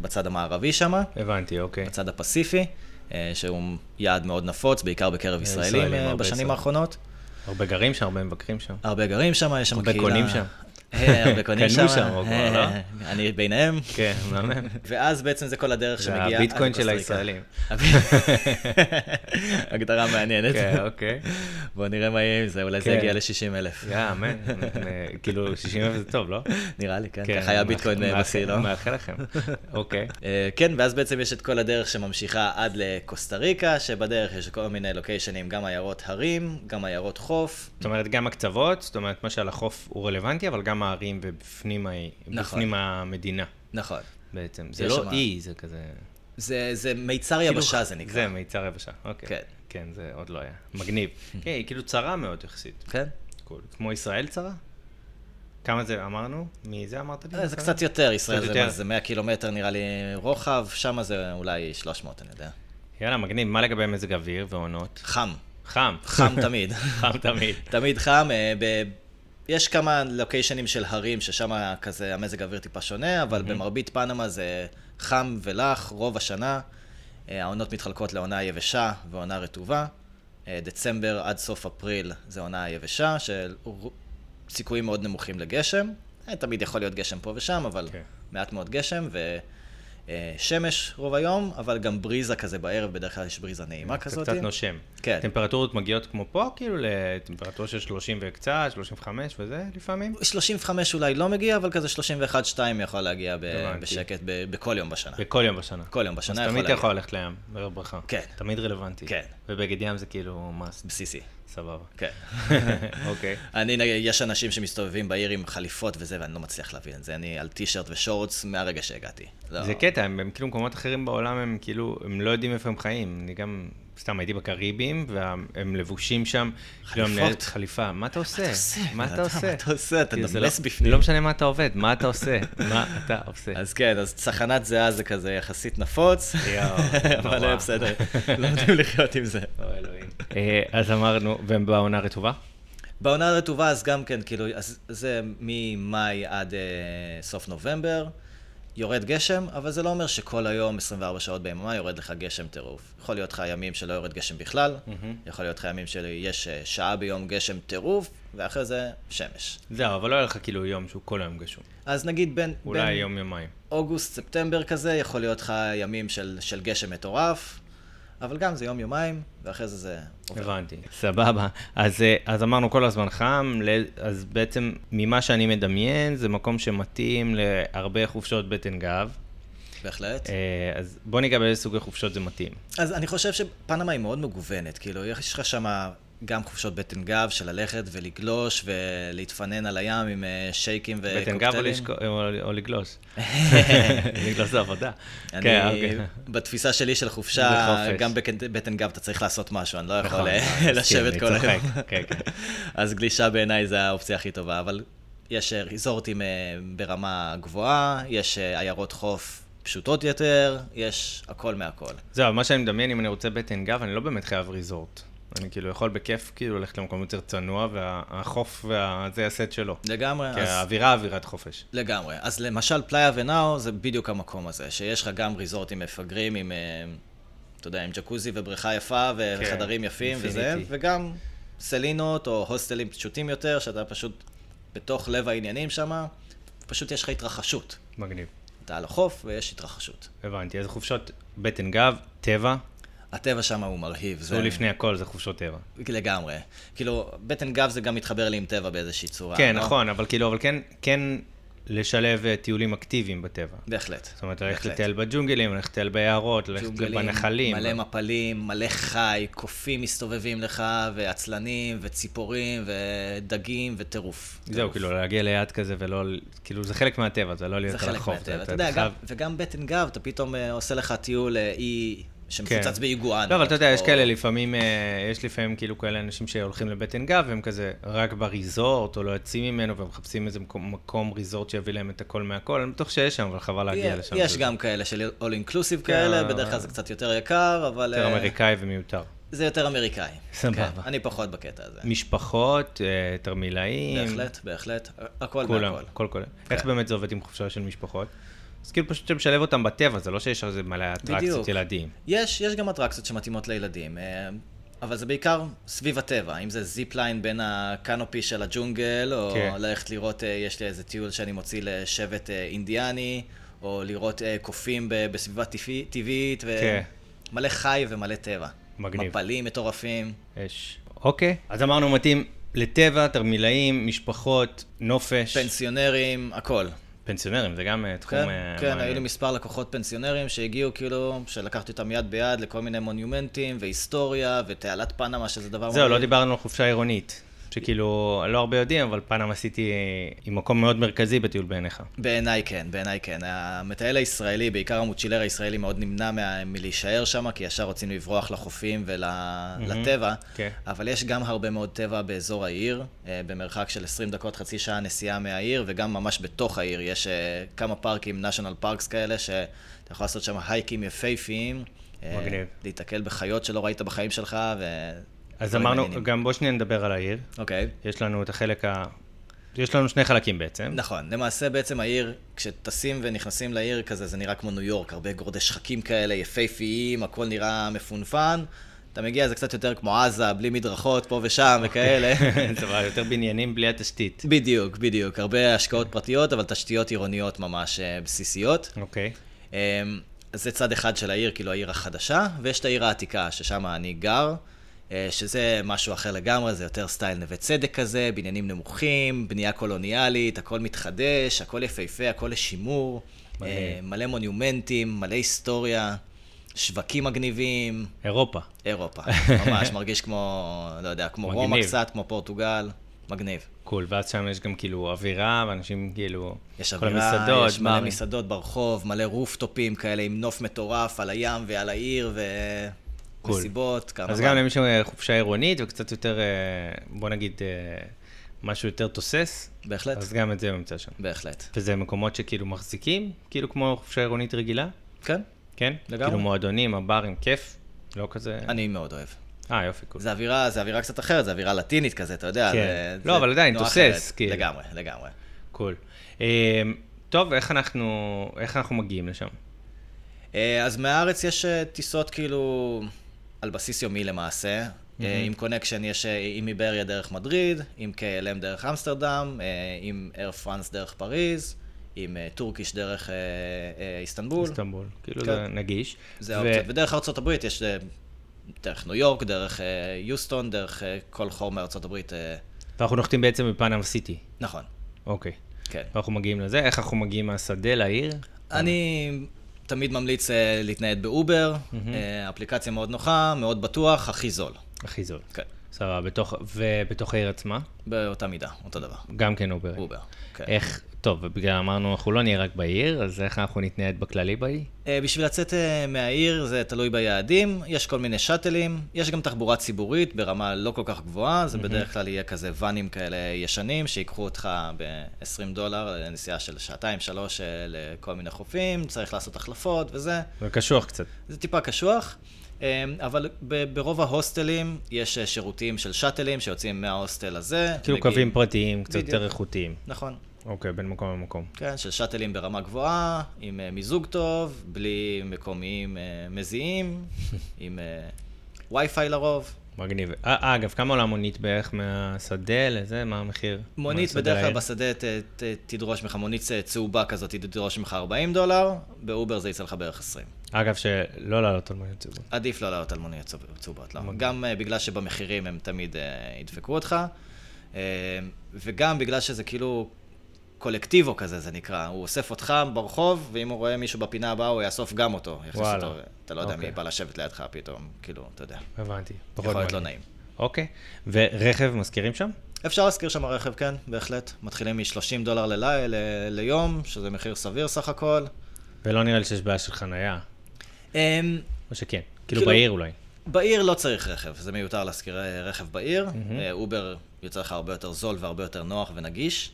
Speaker 2: בצד המערבי שם,
Speaker 1: הבנתי, אוקיי.
Speaker 2: בצד הפסיפי, אה, שהוא יעד מאוד נפוץ, בעיקר בקרב ישראלים
Speaker 1: ישראלים,
Speaker 2: אה,
Speaker 1: הרבה
Speaker 2: בשנים
Speaker 1: ישראלים.
Speaker 2: האחרונות.
Speaker 1: הרבה גרים שם, הרבה מבקרים שם.
Speaker 2: הרבה גרים שם, יש שם
Speaker 1: הרבה
Speaker 2: קהילה...
Speaker 1: קונים שם.
Speaker 2: אה, הרבה קונים שם.
Speaker 1: קנו שם, או כבר,
Speaker 2: אה,
Speaker 1: לא?
Speaker 2: אני ביניהם.
Speaker 1: כן, מהמם.
Speaker 2: ואז בעצם זה כל הדרך
Speaker 1: זה
Speaker 2: שמגיעה... עד
Speaker 1: הביטקוין של
Speaker 2: לקוסטריקה.
Speaker 1: הישראלים.
Speaker 2: הגדרה מעניינת.
Speaker 1: כן, אוקיי.
Speaker 2: בוא נראה מה יהיה עם זה, אולי זה
Speaker 1: כן.
Speaker 2: יגיע ל-60 אלף.
Speaker 1: יא, אמן. אה, כאילו, 60 אלף זה טוב, לא?
Speaker 2: נראה לי, כן.
Speaker 1: כן,
Speaker 2: ככה היה
Speaker 1: מאחל-
Speaker 2: ביטקוין
Speaker 1: מאחל-
Speaker 2: בשיא, לא?
Speaker 1: מאחל לכם. אוקיי.
Speaker 2: אה, כן, ואז בעצם יש את כל הדרך שממשיכה עד לקוסטה ריקה, שבדרך יש כל מיני לוקיישנים, גם עיירות הרים, גם עיירות חוף.
Speaker 1: זאת אומרת, גם הקצוות, זאת אומרת, מה שעל החוף הוא רלוונטי, אבל גם הערים ובפנים ה-
Speaker 2: נכון.
Speaker 1: בפנים המדינה,
Speaker 2: נכון.
Speaker 1: בעצם. זה
Speaker 2: יש
Speaker 1: לא
Speaker 2: שם-
Speaker 1: אי, זה כזה...
Speaker 2: זה זה מיצר יבשה זה נקרא.
Speaker 1: כאילו, זה מיצר יבשה, אוקיי.
Speaker 2: כן.
Speaker 1: כן, זה עוד לא היה. מגניב. כן, היא כאילו צרה מאוד יחסית.
Speaker 2: כן?
Speaker 1: קול. כמו ישראל צרה? כמה זה אמרנו? מי כן, זה אמרת לי? נכון?
Speaker 2: אה, זה קצת יותר, ישראל
Speaker 1: קצת
Speaker 2: זה,
Speaker 1: יותר.
Speaker 2: מה, זה 100 קילומטר נראה לי רוחב, שם זה אולי 300, אני יודע.
Speaker 1: יאללה, מגניב. מה לגבי מזג אוויר ועונות?
Speaker 2: חם,
Speaker 1: חם.
Speaker 2: חם תמיד.
Speaker 1: חם תמיד.
Speaker 2: תמיד חם, אה, ב... יש כמה לוקיישנים של הרים ששם כזה המזג האוויר טיפה שונה, אבל במרבית פנמה זה חם ולח רוב השנה. אה, העונות מתחלקות לעונה יבשה ועונה רטובה. אה, דצמבר עד סוף אפריל זה עונה יבשה, של ר- סיכויים מאוד נמוכים לגשם. אה, תמיד יכול להיות גשם פה ושם, אבל
Speaker 1: כן.
Speaker 2: מעט מאוד גשם, ושמש רוב היום, אבל גם בריזה כזה בערב, בדרך כלל יש בריזה נעימה
Speaker 1: זה
Speaker 2: כזאת.
Speaker 1: קצת נושם.
Speaker 2: כן.
Speaker 1: טמפרטורות מגיעות כמו פה, כאילו לטמפרטורה של 30 וקצת, 35 וזה לפעמים?
Speaker 2: 35 אולי לא מגיע, אבל כזה 31-2 יכול להגיע ב-
Speaker 1: הבנתי.
Speaker 2: בשקט ב- בכל יום בשנה.
Speaker 1: בכל יום בשנה.
Speaker 2: כל יום בשנה
Speaker 1: אז
Speaker 2: יכול
Speaker 1: תמיד אתה
Speaker 2: להגיע.
Speaker 1: יכול ללכת לים, בערב ברכה.
Speaker 2: כן.
Speaker 1: תמיד רלוונטי.
Speaker 2: כן.
Speaker 1: ובגד ים זה כאילו must,
Speaker 2: בסיסי,
Speaker 1: סבבה.
Speaker 2: כן.
Speaker 1: אוקיי.
Speaker 2: אני, נגיד, יש אנשים שמסתובבים בעיר עם חליפות וזה, ואני לא מצליח להבין את זה. אני על טישרט ושורטס מהרגע שהגעתי. לא.
Speaker 1: זה קטע, הם, הם כאילו מקומות אחרים בעולם, הם כאילו, הם לא יודעים איפה הם חיים. אני גם, סתם הייתי בקריבים, והם לבושים שם. כאילו,
Speaker 2: חליפות.
Speaker 1: המנהלת חליפה, מה אתה עושה? מה אתה עושה?
Speaker 2: מה אתה עושה? אתה
Speaker 1: כאילו, זה
Speaker 2: נמס
Speaker 1: לא-
Speaker 2: בפנים.
Speaker 1: לא משנה מה אתה עובד, מה אתה עושה? מה אתה עושה?
Speaker 2: אז כן, אז צחנת זיעה זה כזה יחסית נפוץ,
Speaker 1: יואו,
Speaker 2: אבל
Speaker 1: נורא.
Speaker 2: אה, בסדר, לומדים לחיות עם זה.
Speaker 1: אוי, אלוהים. אה, אז אמרנו, והם בעונה רטובה?
Speaker 2: בעונה הרטובה אז גם כן, כאילו, אז זה ממאי עד אה, סוף נובמבר, יורד גשם, אבל זה לא אומר שכל היום, 24 שעות ביממה, יורד לך גשם טירוף. יכול להיות לך ימים שלא יורד גשם בכלל,
Speaker 1: Mm-hmm.
Speaker 2: יכול להיות לך ימים שיש אה, שעה ביום גשם טירוף, ואחרי זה שמש.
Speaker 1: זהו, אבל לא היה לך כאילו יום שהוא כל היום גשום.
Speaker 2: אז נגיד בין,
Speaker 1: אולי
Speaker 2: בין
Speaker 1: יום יומיים.
Speaker 2: אוגוסט, ספטמבר כזה, יכול להיות לך ימים של, של גשם מטורף, אבל גם זה יום-יומיים, ואחרי זה זה עובר.
Speaker 1: הבנתי. סבבה. אז, אה, אז אמרנו כל הזמן חם, ל- אז בעצם ממה שאני מדמיין, זה מקום שמתאים להרבה חופשות בטן גב.
Speaker 2: בהחלט.
Speaker 1: אה, אז בוא ניגע באיזה סוגי חופשות זה מתאים.
Speaker 2: אז אני חושב שפנמה היא מאוד מגוונת, כאילו, יש לך שם גם חופשות בטן גב של ללכת ולגלוש ולהתפנן על הים עם אה, שייקים וקוקטיילים.
Speaker 1: בטן גב או לשכו- או- או לגלוס. לגלוס זה עבודה. כן,
Speaker 2: אני,
Speaker 1: אוקיי.
Speaker 2: בתפיסה שלי של חופשה,
Speaker 1: זה חופש.
Speaker 2: גם בקט- בטן גב אתה צריך לעשות משהו, אני לא יכול
Speaker 1: נכון,
Speaker 2: אה,
Speaker 1: אני מסכים,
Speaker 2: לשבת
Speaker 1: אני
Speaker 2: כל היום.
Speaker 1: צוחק, כן, כן.
Speaker 2: אז גלישה בעיניי זה האופציה הכי טובה, אבל יש אה, ריזורטים אה, ברמה גבוהה, יש אה, עיירות חוף פשוטות יותר, יש הכל מהכל.
Speaker 1: זהו, מה שאני מדמיין, אם אני רוצה בטן גב, אני לא באמת חייב ריזורט. אני כאילו יכול בכיף כאילו ללכת למקום יותר צנוע, והחוף וה... זה הסט שלו.
Speaker 2: לגמרי,
Speaker 1: כי
Speaker 2: אז-
Speaker 1: האווירה אווירת חופש.
Speaker 2: לגמרי. אז למשל פלאיה ונאו זה בדיוק המקום הזה, שיש לך גם ריזורטים מפגרים עם, אה, אתה יודע, עם ג'קוזי ובריכה יפה וחדרים יפים וזה,
Speaker 1: כן, אינפיניטי.
Speaker 2: וגם סלינות או הוסטלים פשוטים יותר, שאתה פשוט בתוך לב העניינים שם, פשוט יש לך התרחשות.
Speaker 1: מגניב.
Speaker 2: אתה על החוף ויש התרחשות.
Speaker 1: הבנתי, אז חופשות בטן גב, טבע,
Speaker 2: הטבע שם הוא מרהיב.
Speaker 1: זה לפני הכל, זה חופשות טבע.
Speaker 2: לגמרי. כאילו, בטן גב זה גם מתחבר לי עם טבע באיזושהי צורה.
Speaker 1: כן,
Speaker 2: לא?
Speaker 1: נכון, אבל כאילו, אבל כן, כן לשלב אה, טיולים אקטיביים בטבע.
Speaker 2: בהחלט.
Speaker 1: זאת אומרת, ללכת
Speaker 2: בהחלט.
Speaker 1: לטייל בג'ונגלים, ללכת לטייל ביערות, ללכת
Speaker 2: ג'ונגלים,
Speaker 1: בנחלים.
Speaker 2: מלא מפלים, מלא חי, קופים מסתובבים לך, ועצלנים, וציפורים, ודגים, וטירוף.
Speaker 1: זהו,
Speaker 2: טירוף.
Speaker 1: כאילו, להגיע ליעד כזה ולא... כאילו, זה חלק מהטבע, זה לא
Speaker 2: זה
Speaker 1: להיות על
Speaker 2: חלק
Speaker 1: החוף.
Speaker 2: מהטבע. אתה יודע,
Speaker 1: חייב-
Speaker 2: גם- וגם בטן גב, אתה פתאום אה, עושה לך טיול אה, אי שמפוצץ
Speaker 1: כן.
Speaker 2: באיגואן.
Speaker 1: לא, אבל אתה יודע, יש
Speaker 2: או-
Speaker 1: כאלה לפעמים, אה, יש לפעמים כאילו כאלה אנשים שהולכים לבטן גב, והם כזה רק בריזורט, או לא יוצאים ממנו, ומחפשים איזה מקום, מקום ריזורט שיביא להם את הכל מהכל, אני בטוח שיש שם, אבל חבל להגיע לשם.
Speaker 2: אה, יש
Speaker 1: זה כן,
Speaker 2: גם כאלה של all inclusive כאלה, בדרך כלל זה קצת יותר יקר, אבל...
Speaker 1: יותר
Speaker 2: אה,
Speaker 1: אמריקאי ומיותר.
Speaker 2: זה יותר אמריקאי.
Speaker 1: סבבה.
Speaker 2: כן, אני פחות בקטע הזה.
Speaker 1: משפחות, אה, תרמילאים,
Speaker 2: בהחלט, בהחלט. הכל
Speaker 1: כולם,
Speaker 2: מהכל. כן.
Speaker 1: כל כולם. איך באמת זה עובד עם חופשה של משפחות? אז כאילו פשוט משלב אותם בטבע, זה לא שיש על זה מלא אטרקציות
Speaker 2: בדיוק.
Speaker 1: ילדים.
Speaker 2: יש, יש גם אטרקציות שמתאימות לילדים, אה, אבל זה בעיקר סביב הטבע, אם זה זיפליין בין הקנופי של הג'ונגל, או
Speaker 1: כן.
Speaker 2: כן. ללכת לראות, אה, יש לי איזה טיול שאני מוציא לשבט אה, אינדיאני, או לראות אה, קופים ב- בסביבה טבעי- טבעית,
Speaker 1: כן.
Speaker 2: ומלא חי ומלא טבע.
Speaker 1: מגניב.
Speaker 2: מפלים מטורפים.
Speaker 1: יש. אוקיי. אז אמרנו מתאים לטבע, תרמילאים, משפחות, נופש.
Speaker 2: פנסיונרים, הכל.
Speaker 1: פנסיונרים, זה גם אה, תחום...
Speaker 2: כן,
Speaker 1: אה,
Speaker 2: כן,
Speaker 1: מעניין.
Speaker 2: היו לי מספר לקוחות פנסיונרים שהגיעו כאילו, שלקחתי אותם יד ביד לכל מיני מונומנטים והיסטוריה ותעלת פנמה, שזה דבר...
Speaker 1: זהו, לא
Speaker 2: מגניב.
Speaker 1: דיברנו על חופשה עירונית, שכאילו, לא הרבה יודעים, אבל פנמה סיטי היא מקום מאוד מרכזי בטיול בעיניך.
Speaker 2: בעיניי כן, בעיניי כן. המטייל הישראלי, בעיקר המוצ'ילר הישראלי, מאוד נמנע מה- מלהישאר שם, כי ישר רוצים לברוח לחופים ולטבע.
Speaker 1: כן.
Speaker 2: אבל יש גם הרבה מאוד טבע באזור העיר, אה, במרחק של 20 דקות, חצי שעה נסיעה מהעיר, וגם ממש בתוך העיר. יש אה, כמה פארקים, national parks כאלה, שאתה יכול לעשות שם הייקים יפהפיים. אה,
Speaker 1: מגניב.
Speaker 2: להיתקל בחיות שלא ראית בחיים שלך, ו...
Speaker 1: אז
Speaker 2: דברים
Speaker 1: אמרנו,
Speaker 2: מעניינים.
Speaker 1: גם בוא שניה נדבר על העיר.
Speaker 2: אוקיי.
Speaker 1: יש לנו את החלק ה... יש לנו שני חלקים בעצם.
Speaker 2: נכון, למעשה בעצם העיר, כשטסים ונכנסים לעיר כזה, זה נראה כמו ניו יורק, הרבה גורדי שחקים כאלה, יפהפיים, הכל נראה מפונפן. אתה מגיע, זה קצת יותר כמו עזה, בלי מדרכות פה ושם וכאלה.
Speaker 1: סבבה, יותר בניינים בלי התשתית.
Speaker 2: בדיוק, בדיוק. הרבה השקעות פרטיות, אבל תשתיות עירוניות ממש אה, בסיסיות.
Speaker 1: אוקיי.
Speaker 2: אמ, אז זה צד אחד של העיר, כאילו העיר החדשה, ויש את העיר העתיקה, ששם אני גר, אה, שזה משהו אחר לגמרי, זה יותר סטייל נווה צדק כזה, בניינים נמוכים, בנייה קולוניאלית, הכל מתחדש, הכל יפהפה, הכל לשימור,
Speaker 1: מלא.
Speaker 2: אה, מלא מונומנטים, מלא היסטוריה, שווקים מגניבים,
Speaker 1: אירופה.
Speaker 2: אירופה, ממש מרגיש כמו, לא יודע, כמו רומא
Speaker 1: מגניב.
Speaker 2: קצת, כמו פורטוגל, מגניב.
Speaker 1: קול, ואז שם יש גם כאילו אווירה, ואנשים כאילו...
Speaker 2: יש
Speaker 1: כל
Speaker 2: אווירה,
Speaker 1: המסעדות,
Speaker 2: יש מלא
Speaker 1: ברים.
Speaker 2: מסעדות ברחוב, מלא רופטופים כאלה עם נוף מטורף על הים ועל העיר ו-
Speaker 1: קול.
Speaker 2: מסיבות, כמה...
Speaker 1: אז גם למי שחופשה עירונית וקצת יותר, אה, בוא נגיד, אה, משהו יותר תוסס,
Speaker 2: בהחלט,
Speaker 1: אז גם את זה הוא ימצא שם.
Speaker 2: בהחלט.
Speaker 1: וזה מקומות שכאילו מחזיקים, כאילו כמו חופשה עירונית רגילה,
Speaker 2: כן,
Speaker 1: כן?
Speaker 2: לגמרי.
Speaker 1: כאילו מועדונים, הברים, כיף, לא כזה...
Speaker 2: אני מאוד אוהב.
Speaker 1: אה, יופי, קול.
Speaker 2: זה אווירה, זה אווירה קצת אחרת, זה אווירה לטינית כזה, אתה יודע.
Speaker 1: כן.
Speaker 2: זה-
Speaker 1: לא,
Speaker 2: זה
Speaker 1: אבל עדיין,
Speaker 2: תנועה
Speaker 1: תוסס,
Speaker 2: אחרת.
Speaker 1: כאילו.
Speaker 2: לגמרי, לגמרי.
Speaker 1: קול. אה, טוב, איך אנחנו, איך אנחנו מגיעים לשם?
Speaker 2: אה, אז מהארץ יש אה, טיסות כאילו על בסיס יומי למעשה. אה, עם קונקשן יש אה, עם איבריה דרך מדריד, עם KLM דרך אמסטרדם, אה, עם אייר פרנס דרך פריז, עם אה, טורקיש דרך אה, אה, איסטנבול.
Speaker 1: איסטנבול. כאילו
Speaker 2: כן.
Speaker 1: זה נגיש.
Speaker 2: זה
Speaker 1: ו-
Speaker 2: האופציות. ודרך ארצות הברית יש אה, דרך ניו יורק, דרך אה, יוסטון, דרך אה, כל חור מארצות הברית. אה,
Speaker 1: ואנחנו נוחתים בעצם בפאנם סיטי.
Speaker 2: נכון,
Speaker 1: אוקיי.
Speaker 2: כן.
Speaker 1: ואנחנו מגיעים לזה, איך אנחנו מגיעים מהשדה לעיר?
Speaker 2: אני תמיד ממליץ אה, להתנייד באובר, אה, אפליקציה מאוד נוחה, מאוד בטוח, הכי זול.
Speaker 1: הכי זול.
Speaker 2: כן.
Speaker 1: סבבה, בתוך, ובתוך העיר עצמה?
Speaker 2: באותה מידה, אותו דבר.
Speaker 1: גם כן אובר.
Speaker 2: אובר. כן.
Speaker 1: איך, טוב, בגלל אמרנו, אנחנו לא נהיה רק בעיר, אז איך אנחנו נתנייד בכללי בעיר?
Speaker 2: אה, בשביל לצאת אה, מהעיר זה תלוי ביעדים, יש כל מיני שאטלים, יש גם תחבורה ציבורית ברמה לא כל כך גבוהה, זה בדרך כלל יהיה כזה ואנים כאלה ישנים, שיקחו אותך ב-20 דולר לנסיעה של שעתיים, שלוש אה, לכל מיני חופים, צריך לעשות החלפות וזה.
Speaker 1: זה קשוח קצת.
Speaker 2: זה טיפה קשוח, אה, אבל ב- ברוב ההוסטלים יש אה, שירותים של שאטלים שיוצאים מההוסטל הזה.
Speaker 1: כאילו
Speaker 2: מגיעים-
Speaker 1: קווים פרטיים, קצת
Speaker 2: בדיוק.
Speaker 1: יותר איכותיים.
Speaker 2: נכון.
Speaker 1: אוקיי, בין מקום למקום.
Speaker 2: כן, של שאטלים ברמה גבוהה, עם אה, מיזוג טוב, בלי מקומיים אה, מזיעים, עם אה, וי-פיי לרוב.
Speaker 1: מגניב. אה, אגב, כמה עולה מונית בערך מהשדה לזה? מה המחיר?
Speaker 2: מונית
Speaker 1: מהשדה
Speaker 2: בדרך כלל
Speaker 1: לעיר?
Speaker 2: בשדה ת, ת, תדרוש ממך, מונית צהובה כזאת תדרוש ממך 40 דולר, באובר זה יצא לך בערך 20.
Speaker 1: אגב, שלא לעלות על מונית ציבורית.
Speaker 2: עדיף לא לעלות על מוניות צהוב- צהובות, לא. גם אה, בגלל שבמחירים הם תמיד אה, ידפקו אותך, אה, וגם בגלל שזה כאילו קולקטיבו כזה, זה נקרא. הוא אוסף אותך ברחוב, ואם הוא רואה מישהו בפינה הבאה, הוא יאסוף גם אותו. יכניס
Speaker 1: וואלה.
Speaker 2: אותו, אתה לא יודע מי
Speaker 1: אוקיי.
Speaker 2: בא לשבת לידך פתאום, כאילו, אתה יודע.
Speaker 1: הבנתי. פחות
Speaker 2: יכול להיות לא
Speaker 1: מעניין.
Speaker 2: נעים.
Speaker 1: אוקיי. ורכב מזכירים שם?
Speaker 2: אפשר להשכיר שם רכב, כן, בהחלט. מתחילים מ-30 דולר ללי- ל- ליום, שזה מחיר סביר סך הכל.
Speaker 1: ולא נראה לי שיש בעיה של חנייה.
Speaker 2: אמ,
Speaker 1: או שכן. כאילו
Speaker 2: כאילו-
Speaker 1: בעיר אולי.
Speaker 2: בעיר לא צריך רכב, זה מיותר להשכיר אה, רכב בעיר. אה, אובר יוצא לך הרבה יותר זול והרבה יותר נוח ונגיש.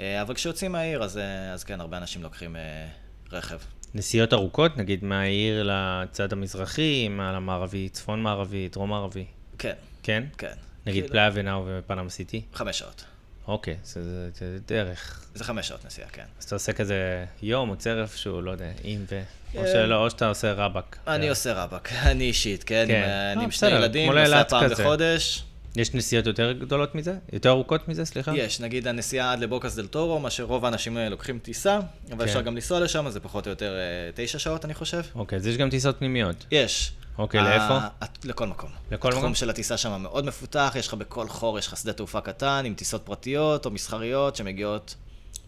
Speaker 2: אה, אבל כשיוצאים מהעיר, אז, אה, אז כן, הרבה אנשים לוקחים אה, רכב.
Speaker 1: נסיעות ארוכות, נגיד מהעיר לצד המזרחי, מעל המערבי, צפון מערבי, דרום מערבי.
Speaker 2: כן,
Speaker 1: כן?
Speaker 2: כן.
Speaker 1: נגיד
Speaker 2: כאילו,
Speaker 1: פלאיה ונאו ופנאם סיטי?
Speaker 2: חמש שעות.
Speaker 1: אוקיי, זה- זה זה דרך.
Speaker 2: זה חמש שעות נסיעה, כן.
Speaker 1: אז אתה עושה כזה יום או צרף שהוא, לא יודע, אם ו... או
Speaker 2: אה.
Speaker 1: שלא, או שאתה עושה רבאק.
Speaker 2: אני עושה רבאק, אני אישית, כן?
Speaker 1: כן.
Speaker 2: אה, אני
Speaker 1: אה,
Speaker 2: עם שני
Speaker 1: בסדר,
Speaker 2: ילדים,
Speaker 1: כמו
Speaker 2: נוסע
Speaker 1: לאילת
Speaker 2: פעם
Speaker 1: כזה.
Speaker 2: בחודש.
Speaker 1: יש נסיעות יותר גדולות מזה? יותר ארוכות מזה, סליחה?
Speaker 2: יש, נגיד הנסיעה עד לבוקס דל טורו, מה שרוב האנשים אה, לוקחים טיסה, אבל
Speaker 1: כן.
Speaker 2: אפשר גם לנסוע לשם, זה פחות או יותר אה, תשע שעות, אני חושב.
Speaker 1: אוקיי, אז יש גם טיסות פנימיות.
Speaker 2: יש.
Speaker 1: אוקיי,
Speaker 2: ה-
Speaker 1: לאיפה?
Speaker 2: הת- לכל מקום.
Speaker 1: לכל מקום?
Speaker 2: התחום של הטיסה שם מאוד מפותח, יש לך בכל חור, יש לך שדה תעופה קטן עם טיסות פרטיות או מסחריות שמגיעות...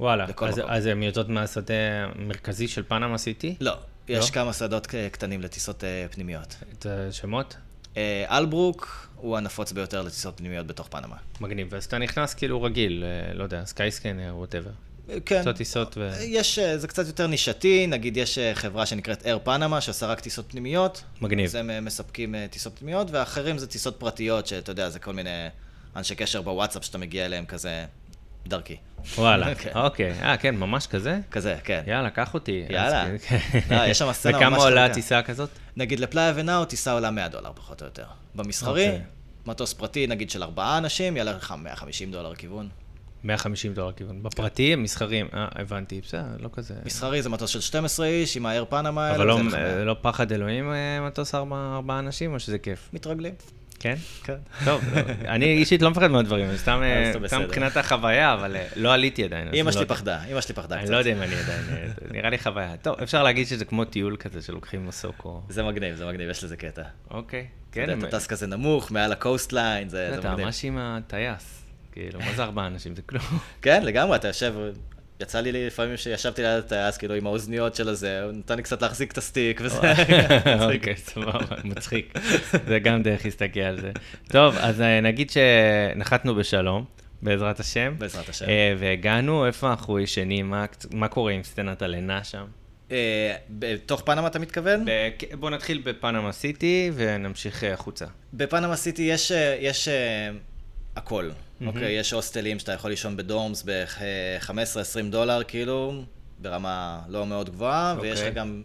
Speaker 1: וואלה,
Speaker 2: לכל
Speaker 1: אז-
Speaker 2: מקום.
Speaker 1: אז הן יוצאות מהשדה המרכזי של פנאמה סיטי?
Speaker 2: לא, יש כמה שדות אה, קטנים לטיסות אה, פנימיות.
Speaker 1: את השמות?
Speaker 2: אה, אלברוק הוא הנפוץ ביותר לטיסות פנימיות בתוך פנמה.
Speaker 1: מגניב. אז אתה נכנס כאילו רגיל, אה, לא יודע, סקייסקנר, ווטאבר.
Speaker 2: אה, כן.
Speaker 1: קצת טיסות ו...
Speaker 2: אה, יש, אה, זה קצת יותר נישתי, נגיד יש אה, חברה שנקראת אייר פנמה שעושה רק טיסות פנימיות.
Speaker 1: מגניב.
Speaker 2: אז הם אה, מספקים אה, טיסות פנימיות, ואחרים זה טיסות פרטיות, שאתה יודע, זה כל מיני אנשי קשר בוואטסאפ שאתה מגיע אליהם כזה דרכי.
Speaker 1: וואלה,
Speaker 2: כן.
Speaker 1: אוקיי. אה, כן, ממש כזה?
Speaker 2: כזה, כן.
Speaker 1: יאללה, קח אותי.
Speaker 2: יאללה.
Speaker 1: אז כן, כן.
Speaker 2: לא, יש שם סצנה
Speaker 1: וכמה
Speaker 2: ממש
Speaker 1: עולה
Speaker 2: חזקה.
Speaker 1: הטיסה כזאת?
Speaker 2: נגיד לפלאיה ונאו טיסה עולה 100 דולר פחות או יותר. במסחרי,
Speaker 1: אוקיי.
Speaker 2: מטוס פרטי נגיד של ארבעה אנשים, יעלה לך 150 דולר כיוון.
Speaker 1: 150 דולר כיוון. בפרטי הם מסחרים. אה, הבנתי, בסדר, לא כזה.
Speaker 2: מסחרי זה מטוס של 12 איש עם האייר פנמה,
Speaker 1: אבל
Speaker 2: האלה,
Speaker 1: לא-
Speaker 2: זה לך מאה.
Speaker 1: לא פחד אלוהים אה, מטוס ארבע ארבעה אנשים, או שזה כיף?
Speaker 2: מתרגלים.
Speaker 1: כן?
Speaker 2: כן.
Speaker 1: טוב, לא, אני אישית לא מפחד מהדברים, אני סתם אה,
Speaker 2: אז אתה
Speaker 1: סתם
Speaker 2: בסדר.
Speaker 1: מבחינת החוויה, אבל אה, לא עליתי עדיין. אז
Speaker 2: אמא
Speaker 1: לא
Speaker 2: שלי
Speaker 1: יודע.
Speaker 2: פחדה, אמא שלי פחדה
Speaker 1: אני
Speaker 2: קצת.
Speaker 1: לא יודע אם אני עדיין, אה, זה נראה לי חוויה. טוב, אפשר להגיד שזה כמו טיול כזה שלוקחים מסוקו.
Speaker 2: זה מגניב, זה מגניב, יש לזה קטע.
Speaker 1: אוקיי,
Speaker 2: אתה יודע,
Speaker 1: כן.
Speaker 2: אתה טס כזה נמוך, מעל הקוסטליין, זה זה
Speaker 1: אתה
Speaker 2: מגניב.
Speaker 1: ממש עם הטייס. כאילו, מה זה ארבעה אנשים? זה כלום.
Speaker 2: כן, לגמרי, אתה יושב... יצא לי לפעמים שישבתי ליד הטייס, כאילו, עם האוזניות של הזה, הוא נתן לי קצת להחזיק את הסטיק וזה.
Speaker 1: אוקיי, סבבה, מצחיק. זה גם דרך להסתכל על זה. טוב, אז אה, נגיד שנחתנו בשלום, בעזרת השם.
Speaker 2: בעזרת השם.
Speaker 1: אה, והגענו, איפה אנחנו ישנים? מה- מה קורה עם סצנת הלינה שם?
Speaker 2: אה, בתוך פנמה אתה מתכוון?
Speaker 1: ב- בוא נתחיל בפנמה סיטי ונמשיך אה, החוצה.
Speaker 2: בפנמה סיטי יש, אה, יש אה, הכל, אוקיי? יש הוסטלים שאתה יכול לישון בדורמס אה, ב-15-20 דולר, כאילו, ברמה לא מאוד גבוהה,
Speaker 1: אוקיי.
Speaker 2: ויש לך גם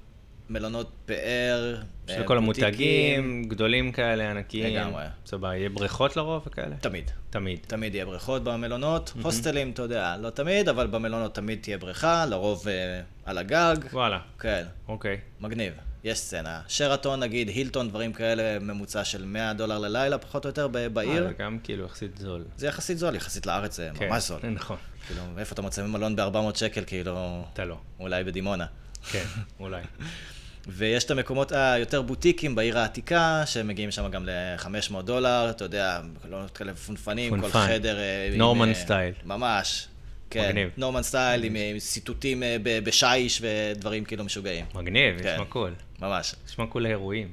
Speaker 2: מלונות פאר.
Speaker 1: יש
Speaker 2: אה,
Speaker 1: לכל
Speaker 2: בוטיקים.
Speaker 1: המותגים, גדולים כאלה, ענקיים.
Speaker 2: לגמרי.
Speaker 1: סבבה, יהיה בריכות לרוב וכאלה?
Speaker 2: תמיד.
Speaker 1: תמיד.
Speaker 2: תמיד יהיה בריכות במלונות. הוסטלים, אתה יודע, לא תמיד, אבל במלונות תמיד תהיה בריכה, לרוב אה, על הגג.
Speaker 1: וואלה,
Speaker 2: כן,
Speaker 1: אוקיי.
Speaker 2: מגניב. יש סצנה. שרתון, נגיד, הילטון, דברים כאלה, ממוצע של 100 דולר ללילה, פחות או יותר, ב- בעיר.
Speaker 1: אה, זה גם כאילו יחסית זול.
Speaker 2: זה יחסית זול, יחסית לארץ זה
Speaker 1: כן,
Speaker 2: ממש זול.
Speaker 1: נכון,
Speaker 2: כאילו, איפה אתה מוצא מלון ב-400 שקל, כאילו,
Speaker 1: אתה לא.
Speaker 2: אולי בדימונה.
Speaker 1: כן, אולי.
Speaker 2: ויש את המקומות היותר בוטיקים בעיר העתיקה, שמגיעים שם גם ל-500 דולר, אתה יודע, מלונות כאלה פונפנים, כל
Speaker 1: פונפן.
Speaker 2: חדר... אה, עם,
Speaker 1: נורמן
Speaker 2: אה,
Speaker 1: סטייל.
Speaker 2: ממש. כן,
Speaker 1: מגניב.
Speaker 2: נורמן סטייל עם עם סיטוטים אה, ב- בשיש ודברים כאילו משוגעים.
Speaker 1: מגניב,
Speaker 2: כן.
Speaker 1: נשמע קול.
Speaker 2: ממש.
Speaker 1: נשמע קול לאירועים.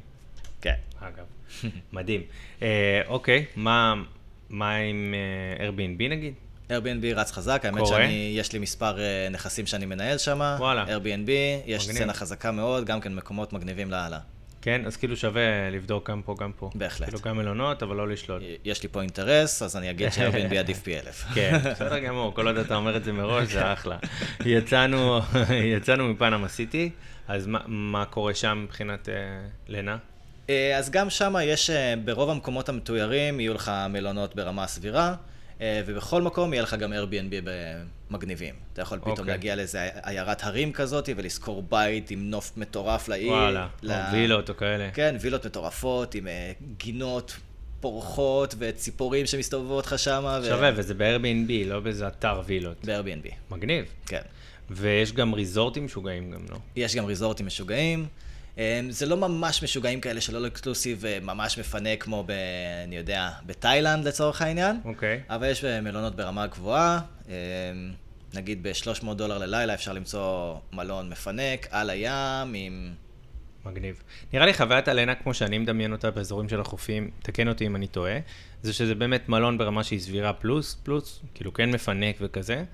Speaker 2: כן.
Speaker 1: אגב. מדהים. אה, אוקיי, מה, מה עם אה, Airbnb נגיד?
Speaker 2: Airbnb רץ חזק, האמת
Speaker 1: קורה?
Speaker 2: שאני, יש לי מספר אה, נכסים שאני מנהל שם,
Speaker 1: וואלה.
Speaker 2: Airbnb, יש
Speaker 1: מגניב.
Speaker 2: סצנה חזקה מאוד, גם כן מקומות מגניבים לאללה.
Speaker 1: כן, אז כאילו שווה לבדוק גם פה, גם פה.
Speaker 2: בהחלט.
Speaker 1: כאילו גם מלונות, אבל לא לשלוט.
Speaker 2: יש לי פה אינטרס, אז אני אגיד ש-Airbnb עדיף פי אלף.
Speaker 1: כן, בסדר גמור, כל עוד אתה אומר את זה מראש, זה אחלה. יצאנו, יצאנו מפנמה סיטי, אז מה, מה קורה שם מבחינת אה, לינה?
Speaker 2: אה, אז גם שם יש, אה, ברוב המקומות המתוירים יהיו לך מלונות ברמה סבירה, אה, ובכל מקום יהיה לך גם Airbnb מגניבים. אתה יכול פתאום
Speaker 1: אוקיי.
Speaker 2: להגיע לאיזה עיירת הרים כזאת ולשכור בית עם נוף מטורף לעיר.
Speaker 1: וואלה,
Speaker 2: ל-
Speaker 1: או וילות או כאלה.
Speaker 2: כן, וילות מטורפות עם אה, גינות פורחות וציפורים שמסתובבות לך שם.
Speaker 1: שווה, וזה ב-Airbnb, לא באיזה אתר וילות.
Speaker 2: ב-Airbnb,
Speaker 1: מגניב.
Speaker 2: כן.
Speaker 1: ויש גם ריזורטים משוגעים גם, לא?
Speaker 2: יש גם ריזורטים משוגעים. אה, זה לא ממש משוגעים כאלה של אול אקסקלוסיב ממש מפנה כמו ב... אני יודע, בתאילנד לצורך העניין.
Speaker 1: אוקיי.
Speaker 2: אבל יש אה, מלונות ברמה גבוהה, אה, נגיד ב-300 דולר ללילה אפשר למצוא מלון מפנק, על הים, עם...
Speaker 1: מגניב. נראה לי חוויית הלינה, כמו שאני מדמיין אותה באזורים של החופים, תקן אותי אם אני טועה, זה שזה באמת מלון ברמה שהיא סבירה פלוס, פלוס, כאילו כן מפנק וכזה,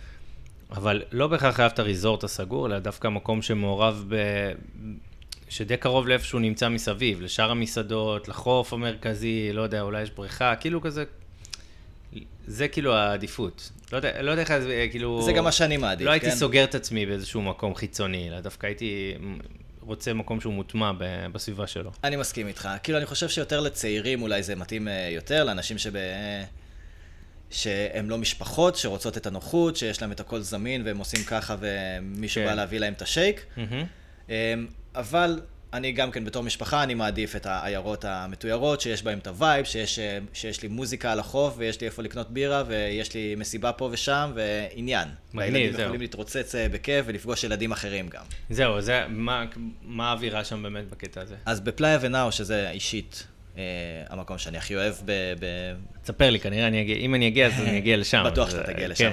Speaker 1: אבל לא בהכרח חייב את הריזורט הסגור, אלא דווקא מקום שמעורב ב... שדי קרוב לאיפה שהוא נמצא מסביב, לשאר המסעדות, לחוף המרכזי, לא יודע, אולי יש בריכה, כאילו כזה... זה כאילו העדיפות. לא יודע, לא יודע איך, זה, כאילו...
Speaker 2: זה גם מה שאני מעדיף,
Speaker 1: לא הייתי
Speaker 2: כן?
Speaker 1: סוגר את עצמי באיזשהו מקום חיצוני, אלא דווקא הייתי רוצה מקום שהוא מוטמע ב- בסביבה שלו.
Speaker 2: אני מסכים איתך. כאילו, אני חושב שיותר לצעירים אולי זה מתאים אה, יותר, לאנשים שב... שהם לא משפחות, שרוצות את הנוחות, שיש להם את הכל זמין, והם עושים ככה, ומישהו
Speaker 1: כן.
Speaker 2: בא להביא להם את השייק. אמ, אבל אני גם כן בתור משפחה, אני מעדיף את העיירות המתוירות, שיש בהן את הווייב, שיש, אה, שיש לי מוזיקה על החוף, ויש לי איפה לקנות בירה, ויש לי מסיבה פה ושם, ועניין. והילדים
Speaker 1: זהו.
Speaker 2: יכולים להתרוצץ אה, בכיף ולפגוש ילדים אחרים גם.
Speaker 1: זהו, זה, מה, מה האווירה שם באמת בקטע הזה?
Speaker 2: אז בפלאיה ונאו, שזה אישית אה, המקום שאני הכי אוהב ב... ב...
Speaker 1: תספר לי, כנראה אני אגיע, אם אני אגיע, אז אני אגיע לשם.
Speaker 2: בטוח
Speaker 1: אז,
Speaker 2: שאתה תגיע
Speaker 1: כן.
Speaker 2: לשם.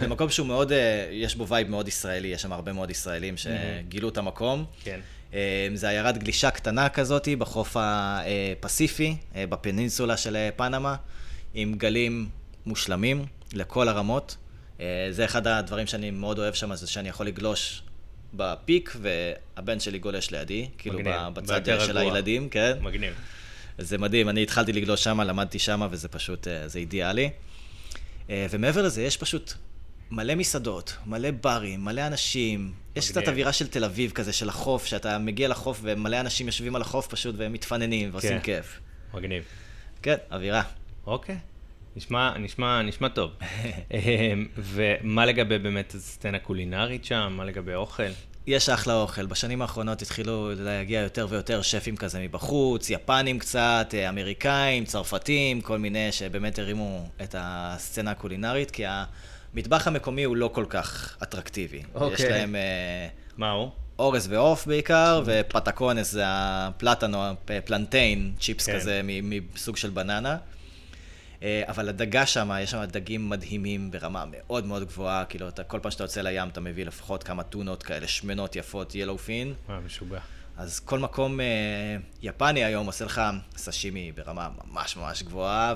Speaker 2: זה מקום שהוא מאוד, אה, יש בו וייב מאוד ישראלי, יש שם הרבה מאוד ישראלים שגילו את המקום.
Speaker 1: כן.
Speaker 2: אה, זה עיירת גלישה קטנה כזאת בחוף הפסיפי, אה, בפנינסולה של אה, פנמה, עם גלים מושלמים לכל הרמות. אה, זה אחד הדברים שאני מאוד אוהב שם, זה שאני יכול לגלוש בפיק, והבן שלי גולש לידי, כאילו
Speaker 1: מגניב,
Speaker 2: ב- בצד
Speaker 1: ביותר
Speaker 2: של
Speaker 1: רגוע.
Speaker 2: הילדים, כן.
Speaker 1: מגניב.
Speaker 2: זה מדהים, אני התחלתי לגלוש שם, למדתי שם, וזה פשוט, אה, זה אידיאלי. אה, ומעבר לזה, יש פשוט מלא מסעדות, מלא ברים, מלא אנשים. יש
Speaker 1: מגניב.
Speaker 2: קצת אווירה של תל אביב כזה, של החוף, שאתה מגיע לחוף ומלא אנשים יושבים על החוף פשוט והם מתפננים ועושים
Speaker 1: כן.
Speaker 2: כיף.
Speaker 1: מגניב.
Speaker 2: כן, אווירה.
Speaker 1: אוקיי. נשמע, נשמע, נשמע טוב. אמ, ומה לגבי באמת הסצנה הקולינרית שם? מה לגבי אוכל?
Speaker 2: יש אחלה אוכל. בשנים האחרונות התחילו להגיע יותר ויותר שפים כזה מבחוץ, יפנים קצת, אה, אמריקאים, צרפתים, כל מיני שבאמת הרימו את הסצנה הקולינרית, כי המטבח המקומי הוא לא כל כך אטרקטיבי.
Speaker 1: אוקיי.
Speaker 2: יש להם אה,
Speaker 1: מה הוא?
Speaker 2: אורז ועוף בעיקר, ופטקונס זה הפלטנו, פלנטיין, צ'יפס
Speaker 1: כן.
Speaker 2: כזה מ- מסוג של בננה. אה, אבל הדגה שם, יש שם דגים מדהימים ברמה מאוד מאוד גבוהה, כאילו אתה, כל פעם שאתה יוצא לים אתה מביא לפחות כמה טונות כאלה, שמנות יפות, ילו פין,
Speaker 1: מה, אה, משוגע.
Speaker 2: אז כל מקום אה, יפני היום עושה לך סשימי ברמה ממש ממש גבוהה,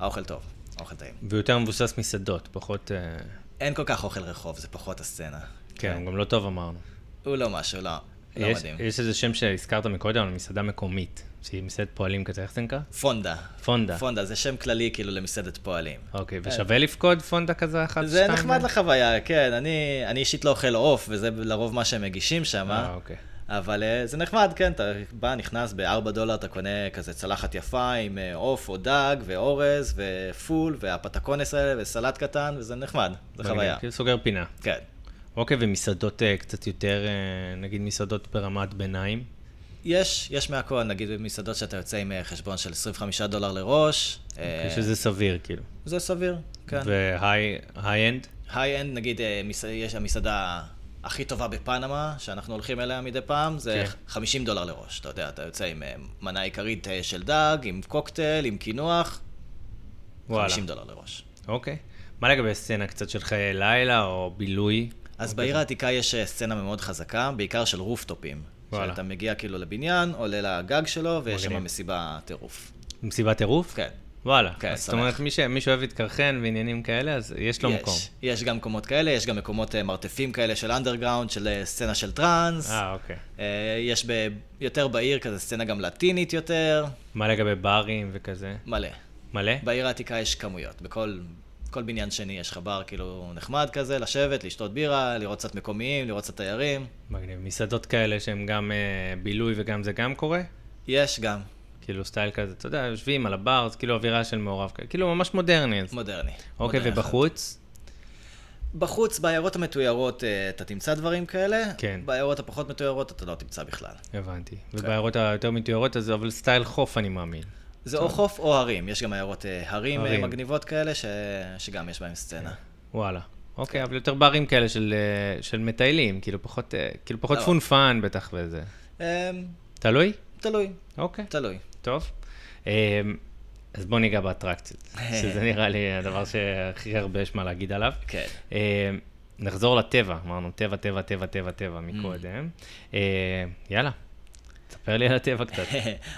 Speaker 2: והאוכל טוב, האוכל טעים.
Speaker 1: ויותר מבוסס מסעדות, פחות... אה,
Speaker 2: אין כל כך אוכל רחוב, זה פחות הסצנה.
Speaker 1: כן, הוא גם לא טוב אמרנו.
Speaker 2: הוא לא משהו, לא, לא
Speaker 1: יש,
Speaker 2: מדהים.
Speaker 1: יש איזה שם שהזכרת מקודם, על מסעדה מקומית, שהיא מסעדת פועלים כזה, איך זה נקרא?
Speaker 2: פונדה.
Speaker 1: פונדה.
Speaker 2: פונדה זה שם כללי כאילו למסעדת פועלים.
Speaker 1: אוקיי, ושווה לפקוד פונדה כזה אחת,
Speaker 2: זה
Speaker 1: שתיים?
Speaker 2: נחמד לחוויה, כן, אני, אני אישית לא אוכל עוף, וזה לרוב מה שהם מגישים שם,
Speaker 1: אה, אוקיי.
Speaker 2: אבל אה, זה נחמד, כן, אתה בא, נכנס, ב-4 דולר אתה קונה כזה צלחת יפה עם אה, עוף או דג ואורז ופול והפטקונס האלה וסלט קטן, וזה נחמד, זה
Speaker 1: מגניב,
Speaker 2: חוויה.
Speaker 1: כאילו סוגר פינה.
Speaker 2: כן.
Speaker 1: אוקיי, ומסעדות אה, קצת יותר, אה, נגיד מסעדות ברמת ביניים?
Speaker 2: יש, יש מהכל, נגיד במסעדות שאתה יוצא עם אה, חשבון של 25 דולר לראש, אה,
Speaker 1: אוקיי, שזה סביר, כאילו.
Speaker 2: זה סביר, כן.
Speaker 1: והיי-אנד?
Speaker 2: היי-אנד, נגיד, אה, מס- יש המסעדה הכי טובה בפנמה, שאנחנו הולכים אליה מדי פעם, זה
Speaker 1: כן.
Speaker 2: 50 דולר לראש. אתה יודע, אתה יוצא עם אה, מנה עיקרית אה, של דג, עם קוקטייל, עם קינוח,
Speaker 1: וואלה.
Speaker 2: 50 דולר לראש.
Speaker 1: אוקיי. מה לגבי סצנה קצת של חיי לילה או בילוי? אוקיי.
Speaker 2: אז בעיר העתיקה יש אה, סצנה מאוד חזקה, בעיקר של רופטופים.
Speaker 1: וואלה.
Speaker 2: שאתה מגיע כאילו לבניין, עולה לגג שלו, ויש שם
Speaker 1: מגניב.
Speaker 2: מסיבה טירוף.
Speaker 1: מסיבת טירוף?
Speaker 2: כן.
Speaker 1: וואלה.
Speaker 2: כן,
Speaker 1: אז זאת
Speaker 2: שמח.
Speaker 1: אומרת, מי ש- מי שאוהב להתקרחן ועניינים כאלה, אז יש לו
Speaker 2: יש.
Speaker 1: מקום.
Speaker 2: יש גם מקומות כאלה, יש גם מקומות אה, מרתפים כאלה של אנדרגראונד, של אה, סצנה של טראנס.
Speaker 1: אה, אוקיי.
Speaker 2: אה, יש ב... יותר בעיר כזה סצנה גם לטינית יותר,
Speaker 1: מה לגבי ברים וכזה?
Speaker 2: מלא.
Speaker 1: מלא?
Speaker 2: בעיר העתיקה יש כמויות, בכל כל בניין שני יש לך בר כאילו נחמד כזה, לשבת, לשתות בירה, לראות קצת מקומיים, לראות קצת תיירים.
Speaker 1: מגניב. מסעדות כאלה שהן גם אה, בילוי וגם זה גם קורה?
Speaker 2: יש גם,
Speaker 1: כאילו סטייל כזה, אתה יודע, יושבים על הבר, זה כאילו אווירה של מעורב, כזה, כאילו ממש מודרני. אז-
Speaker 2: מודרני.
Speaker 1: אוקיי,
Speaker 2: מודרני אחר.
Speaker 1: ובחוץ?
Speaker 2: בחוץ, בעיירות המתוירות אה, אתה תמצא דברים כאלה,
Speaker 1: כן.
Speaker 2: בעיירות הפחות מתוירות אתה לא תמצא בכלל.
Speaker 1: הבנתי.
Speaker 2: כן.
Speaker 1: ובעיירות היותר מתוארות, אז אבל סטייל חוף אני מאמין.
Speaker 2: זה או חוף או הרים, יש גם עיירות אה, הרים אה,
Speaker 1: הרים.
Speaker 2: מגניבות כאלה, ש... שגם יש בהם סצנה.
Speaker 1: וואלה.
Speaker 2: כן.
Speaker 1: אוקיי, אבל יותר ברים כאלה של, אה, של מטיילים, כאילו פחות, אה, כאילו פחות
Speaker 2: לא.
Speaker 1: פונפן בטח וזה.
Speaker 2: אה,
Speaker 1: תלוי?
Speaker 2: תלוי,
Speaker 1: אוקיי,
Speaker 2: תלוי.
Speaker 1: טוב. אה, אז בוא ניגע באטרקציות, שזה נראה לי הדבר שהכי הרבה יש מה להגיד עליו.
Speaker 2: כן.
Speaker 1: אה, נחזור לטבע, אמרנו טבע, טבע, טבע, טבע,
Speaker 2: Mm.
Speaker 1: טבע מקודם. אה, יאללה, תספר לי על הטבע קצת.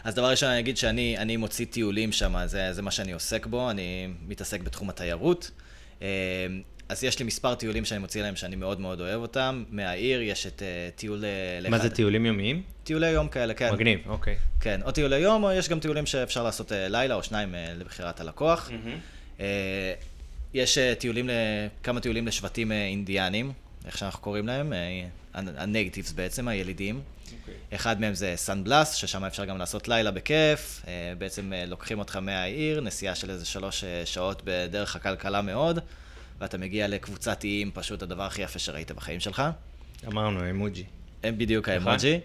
Speaker 2: אז דבר ראשון אני אגיד שאני אני מוציא טיולים שם, זה, זה מה שאני עוסק בו, אני מתעסק בתחום התיירות. אה, אז יש לי מספר טיולים שאני מוציא להם שאני מאוד מאוד אוהב אותם. מהעיר יש את אה, טיול... אה,
Speaker 1: מה
Speaker 2: לאחד-
Speaker 1: זה טיולים יומיים?
Speaker 2: טיולי יום כאלה, כן.
Speaker 1: מגניב, אוקיי.
Speaker 2: כן, או טיולי יום, או יש גם טיולים שאפשר לעשות אה, לילה או שניים אה, לבחירת
Speaker 1: Mm.
Speaker 2: הלקוח. אה, יש אה, טיולים, ל- כמה טיולים לשבטים אה, אינדיאנים, איך שאנחנו קוראים להם, אה, הנייגטיבס בעצם, הילידים. אחד מהם זה סן בלאס, ששם אפשר גם לעשות לילה בכיף. אה, בעצם אה, לוקחים אותך מהעיר, נסיעה של איזה שלוש אה, שעות בדרך הכלכלה מאוד, ואתה מגיע לקבוצת איים, פשוט הדבר הכי יפה שראית בחיים שלך.
Speaker 1: אמרנו, אמוג'י.
Speaker 2: הם בדיוק
Speaker 1: נכון.
Speaker 2: האמוג'י.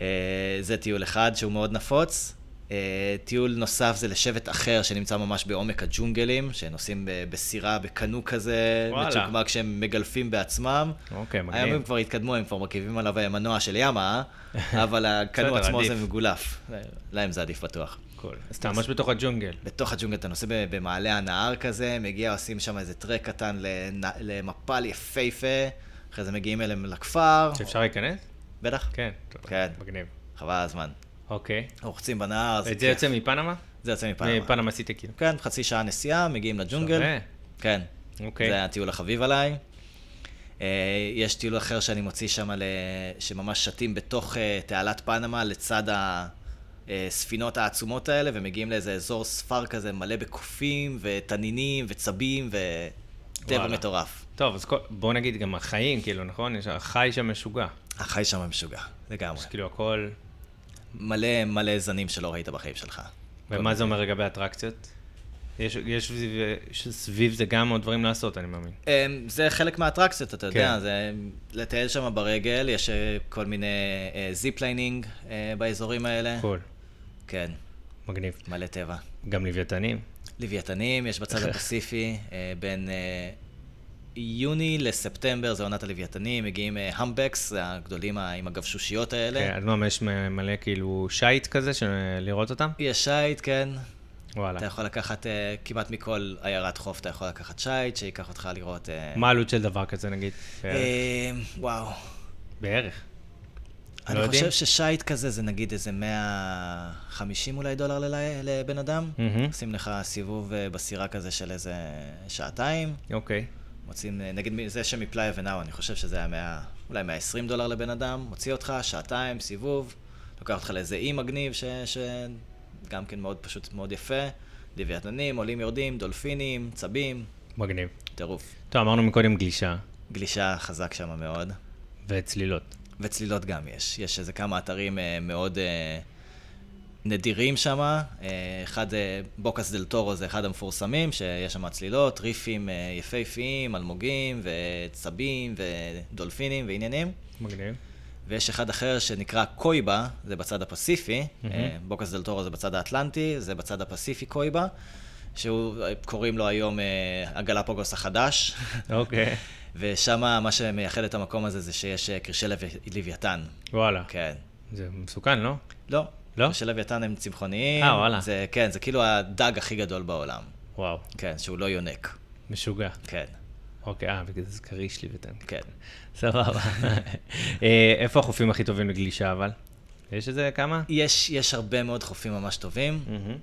Speaker 2: אה, זה טיול אחד שהוא מאוד נפוץ. אה, טיול נוסף זה לשבט אחר שנמצא ממש בעומק הג'ונגלים, שנוסעים ב- בסירה, בקנו כזה,
Speaker 1: וואלה.
Speaker 2: מצ'וקמק שהם מגלפים בעצמם.
Speaker 1: אוקיי, מגניב.
Speaker 2: היום הם כבר התקדמו, הם כבר מרכיבים עליו אה, מנוע של ימה, אה? אבל הקנו
Speaker 1: בסדר,
Speaker 2: עצמו
Speaker 1: עדיף.
Speaker 2: זה מגולף. להם זה עדיף בטוח.
Speaker 1: קול. אז אתה ממש בתוך הג'ונגל.
Speaker 2: בתוך הג'ונגל, אתה נוסע ב- במעלה הנהר כזה, מגיע, עושים שם איזה טרק קטן לנ- למפל יפהפה, אחרי זה מגיעים אליהם לכפר.
Speaker 1: שאפשר להיכנס?
Speaker 2: בטח.
Speaker 1: כן. טוב,
Speaker 2: כן.
Speaker 1: מגניב.
Speaker 2: חבל על הזמן.
Speaker 1: אוקיי.
Speaker 2: רוחצים בנהר,
Speaker 1: את זה יוצא מפנמה?
Speaker 2: זה יוצא כן. מפנמה.
Speaker 1: מפנמה סיטי כאילו.
Speaker 2: כן, חצי שעה נסיעה, מגיעים לג'ונגל.
Speaker 1: שווה.
Speaker 2: כן.
Speaker 1: אוקיי.
Speaker 2: זה הטיול החביב עליי. אה, יש טיול אחר שאני מוציא שם, ל... שממש שתים בתוך אה, תעלת פנמה, לצד הספינות העצומות האלה, ומגיעים לאיזה אזור ספר כזה מלא בקופים, ותנינים, וצבים, וטבע
Speaker 1: וואלה.
Speaker 2: מטורף.
Speaker 1: טוב, אז כל- בוא נגיד גם החיים, כאילו, נכון? יש החי שם משוגע.
Speaker 2: החי שם משוגע, לגמרי.
Speaker 1: אז כאילו הכל...
Speaker 2: מלא מלא זנים שלא ראית בחיים שלך.
Speaker 1: ומה זה אומר לגבי אטרקציות? יש- יש סביב- יש סביב זה גם עוד דברים לעשות, אני מאמין.
Speaker 2: אמ, זה חלק מהאטרקציות, אתה יודע,
Speaker 1: כן.
Speaker 2: זה לטייל שם ברגל, יש אה, כל מיני אה, זיפליינינג אה, באזורים האלה.
Speaker 1: הכל.
Speaker 2: כן,
Speaker 1: מגניב.
Speaker 2: מלא טבע.
Speaker 1: גם לוויתנים.
Speaker 2: לוויתנים, יש בצד הפסיפי, אה, בין אה, יוני לספטמבר, זה עונת הלוויתנים, מגיעים המבקס, זה הגדולים ה- עם הגבשושיות
Speaker 1: כן,
Speaker 2: האלה.
Speaker 1: אז מה, יש מ- מלא כאילו שיט כזה, של לראות אותם?
Speaker 2: יש שיט, כן.
Speaker 1: וואלה.
Speaker 2: אתה יכול לקחת אה, כמעט מכל עיירת חוף, אתה יכול לקחת שיט, שייקח אותך לראות... אה,
Speaker 1: מה כן. העלות של דבר כזה, נגיד? בערך?
Speaker 2: אה, וואו.
Speaker 1: בערך.
Speaker 2: אני
Speaker 1: לא יודעים?
Speaker 2: חושב ששייט כזה זה נגיד איזה 150 אולי דולר ללי- לבן אדם.
Speaker 1: מהמם.
Speaker 2: עושים לך סיבוב אה, בסירה כזה של איזה שעתיים.
Speaker 1: אוקיי.
Speaker 2: מוצאים, אה, נגיד מ- זה שמפליי ונאו, אני חושב שזה היה 100, אולי 120 דולר לבן אדם. מוציא אותך, שעתיים, סיבוב. לוקח אותך לאיזה אי מגניב, ש- שגם כן מאוד פשוט, מאוד יפה. לוויתננים, עולים יורדים, דולפינים, צבים,
Speaker 1: מגניב.
Speaker 2: טירוף.
Speaker 1: טוב, אמרנו מקודם גלישה
Speaker 2: גלישה חזק שם מאוד.
Speaker 1: וצלילות.
Speaker 2: וצלילות גם יש. יש איזה כמה אתרים אה, מאוד אה, נדירים שם. אה, אחד, אה, בוקס דל טורו זה אחד המפורסמים, שיש שם צלילות, ריפים אה, יפהפיים, אלמוגים וצבים ודולפינים ועניינים.
Speaker 1: מגניב.
Speaker 2: ויש אחד אחר שנקרא קויבה, זה בצד הפסיפי, אה, בוקס דל טורו זה בצד האטלנטי, זה בצד הפסיפי קויבה, שהוא, אה, קוראים לו היום אה, הגלפגוס החדש.
Speaker 1: אוקיי.
Speaker 2: אה, ושם מה שמייחד את המקום הזה זה שיש אה, קרשי לוי- לוויתן.
Speaker 1: וואלה.
Speaker 2: כן.
Speaker 1: זה מסוכן, לא?
Speaker 2: לא.
Speaker 1: לא?
Speaker 2: של לוויתן הם צמחוניים.
Speaker 1: אה, וואלה.
Speaker 2: זה, כן, זה כאילו הדג הכי גדול בעולם.
Speaker 1: וואו.
Speaker 2: כן, שהוא לא יונק.
Speaker 1: משוגע.
Speaker 2: כן.
Speaker 1: אוקיי, אה, בגלל זה כריש לי וטען.
Speaker 2: כן.
Speaker 1: סבבה. אה, איפה החופים הכי טובים לגלישה, אבל? יש איזה כמה?
Speaker 2: יש, יש הרבה מאוד חופים ממש טובים.
Speaker 1: מהמם.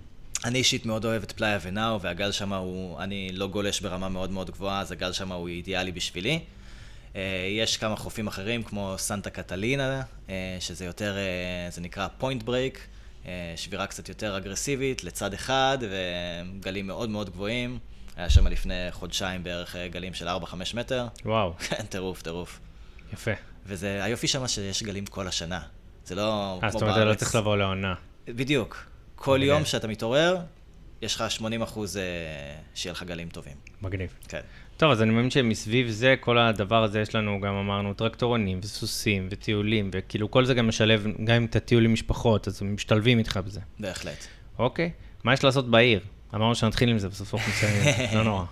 Speaker 2: אני אישית מאוד אוהב את פלאיה ונאו, והגל שם הוא, אני לא גולש ברמה מאוד מאוד גבוהה, אז הגל שם הוא אידיאלי בשבילי. אה, יש כמה חופים אחרים, כמו סנטה קטלינה, אה, שזה יותר, אה, זה נקרא פוינט ברייק, שבירה קצת יותר אגרסיבית, לצד אחד, וגלים מאוד מאוד גבוהים. היה שם לפני חודשיים בערך אה, גלים של 4-5 מטר.
Speaker 1: וואו,
Speaker 2: כן, טירוף, טירוף.
Speaker 1: יפה. אה,
Speaker 2: וזה, היופי שם שיש גלים כל השנה. זה לא כמו
Speaker 1: אה,
Speaker 2: בארץ.
Speaker 1: זאת אומרת, אתה לא צריך לבוא לעונה.
Speaker 2: בדיוק. כל
Speaker 1: מגניב.
Speaker 2: יום שאתה מתעורר, יש לך 80 אחוז אה, שיהיה לך גלים טובים.
Speaker 1: מגניב.
Speaker 2: כן.
Speaker 1: טוב, אז אני מאמין שמסביב זה, כל הדבר הזה, יש לנו גם אמרנו טרקטורונים וסוסים וטיולים, וכאילו כל זה גם משלב, גם אם אתה טיול עם משפחות, אז הם משתלבים איתך בזה.
Speaker 2: בהחלט.
Speaker 1: אוקיי, מה יש לעשות בעיר? אמרנו שנתחיל עם זה, בסוף אנחנו מסיימים, לא נורא.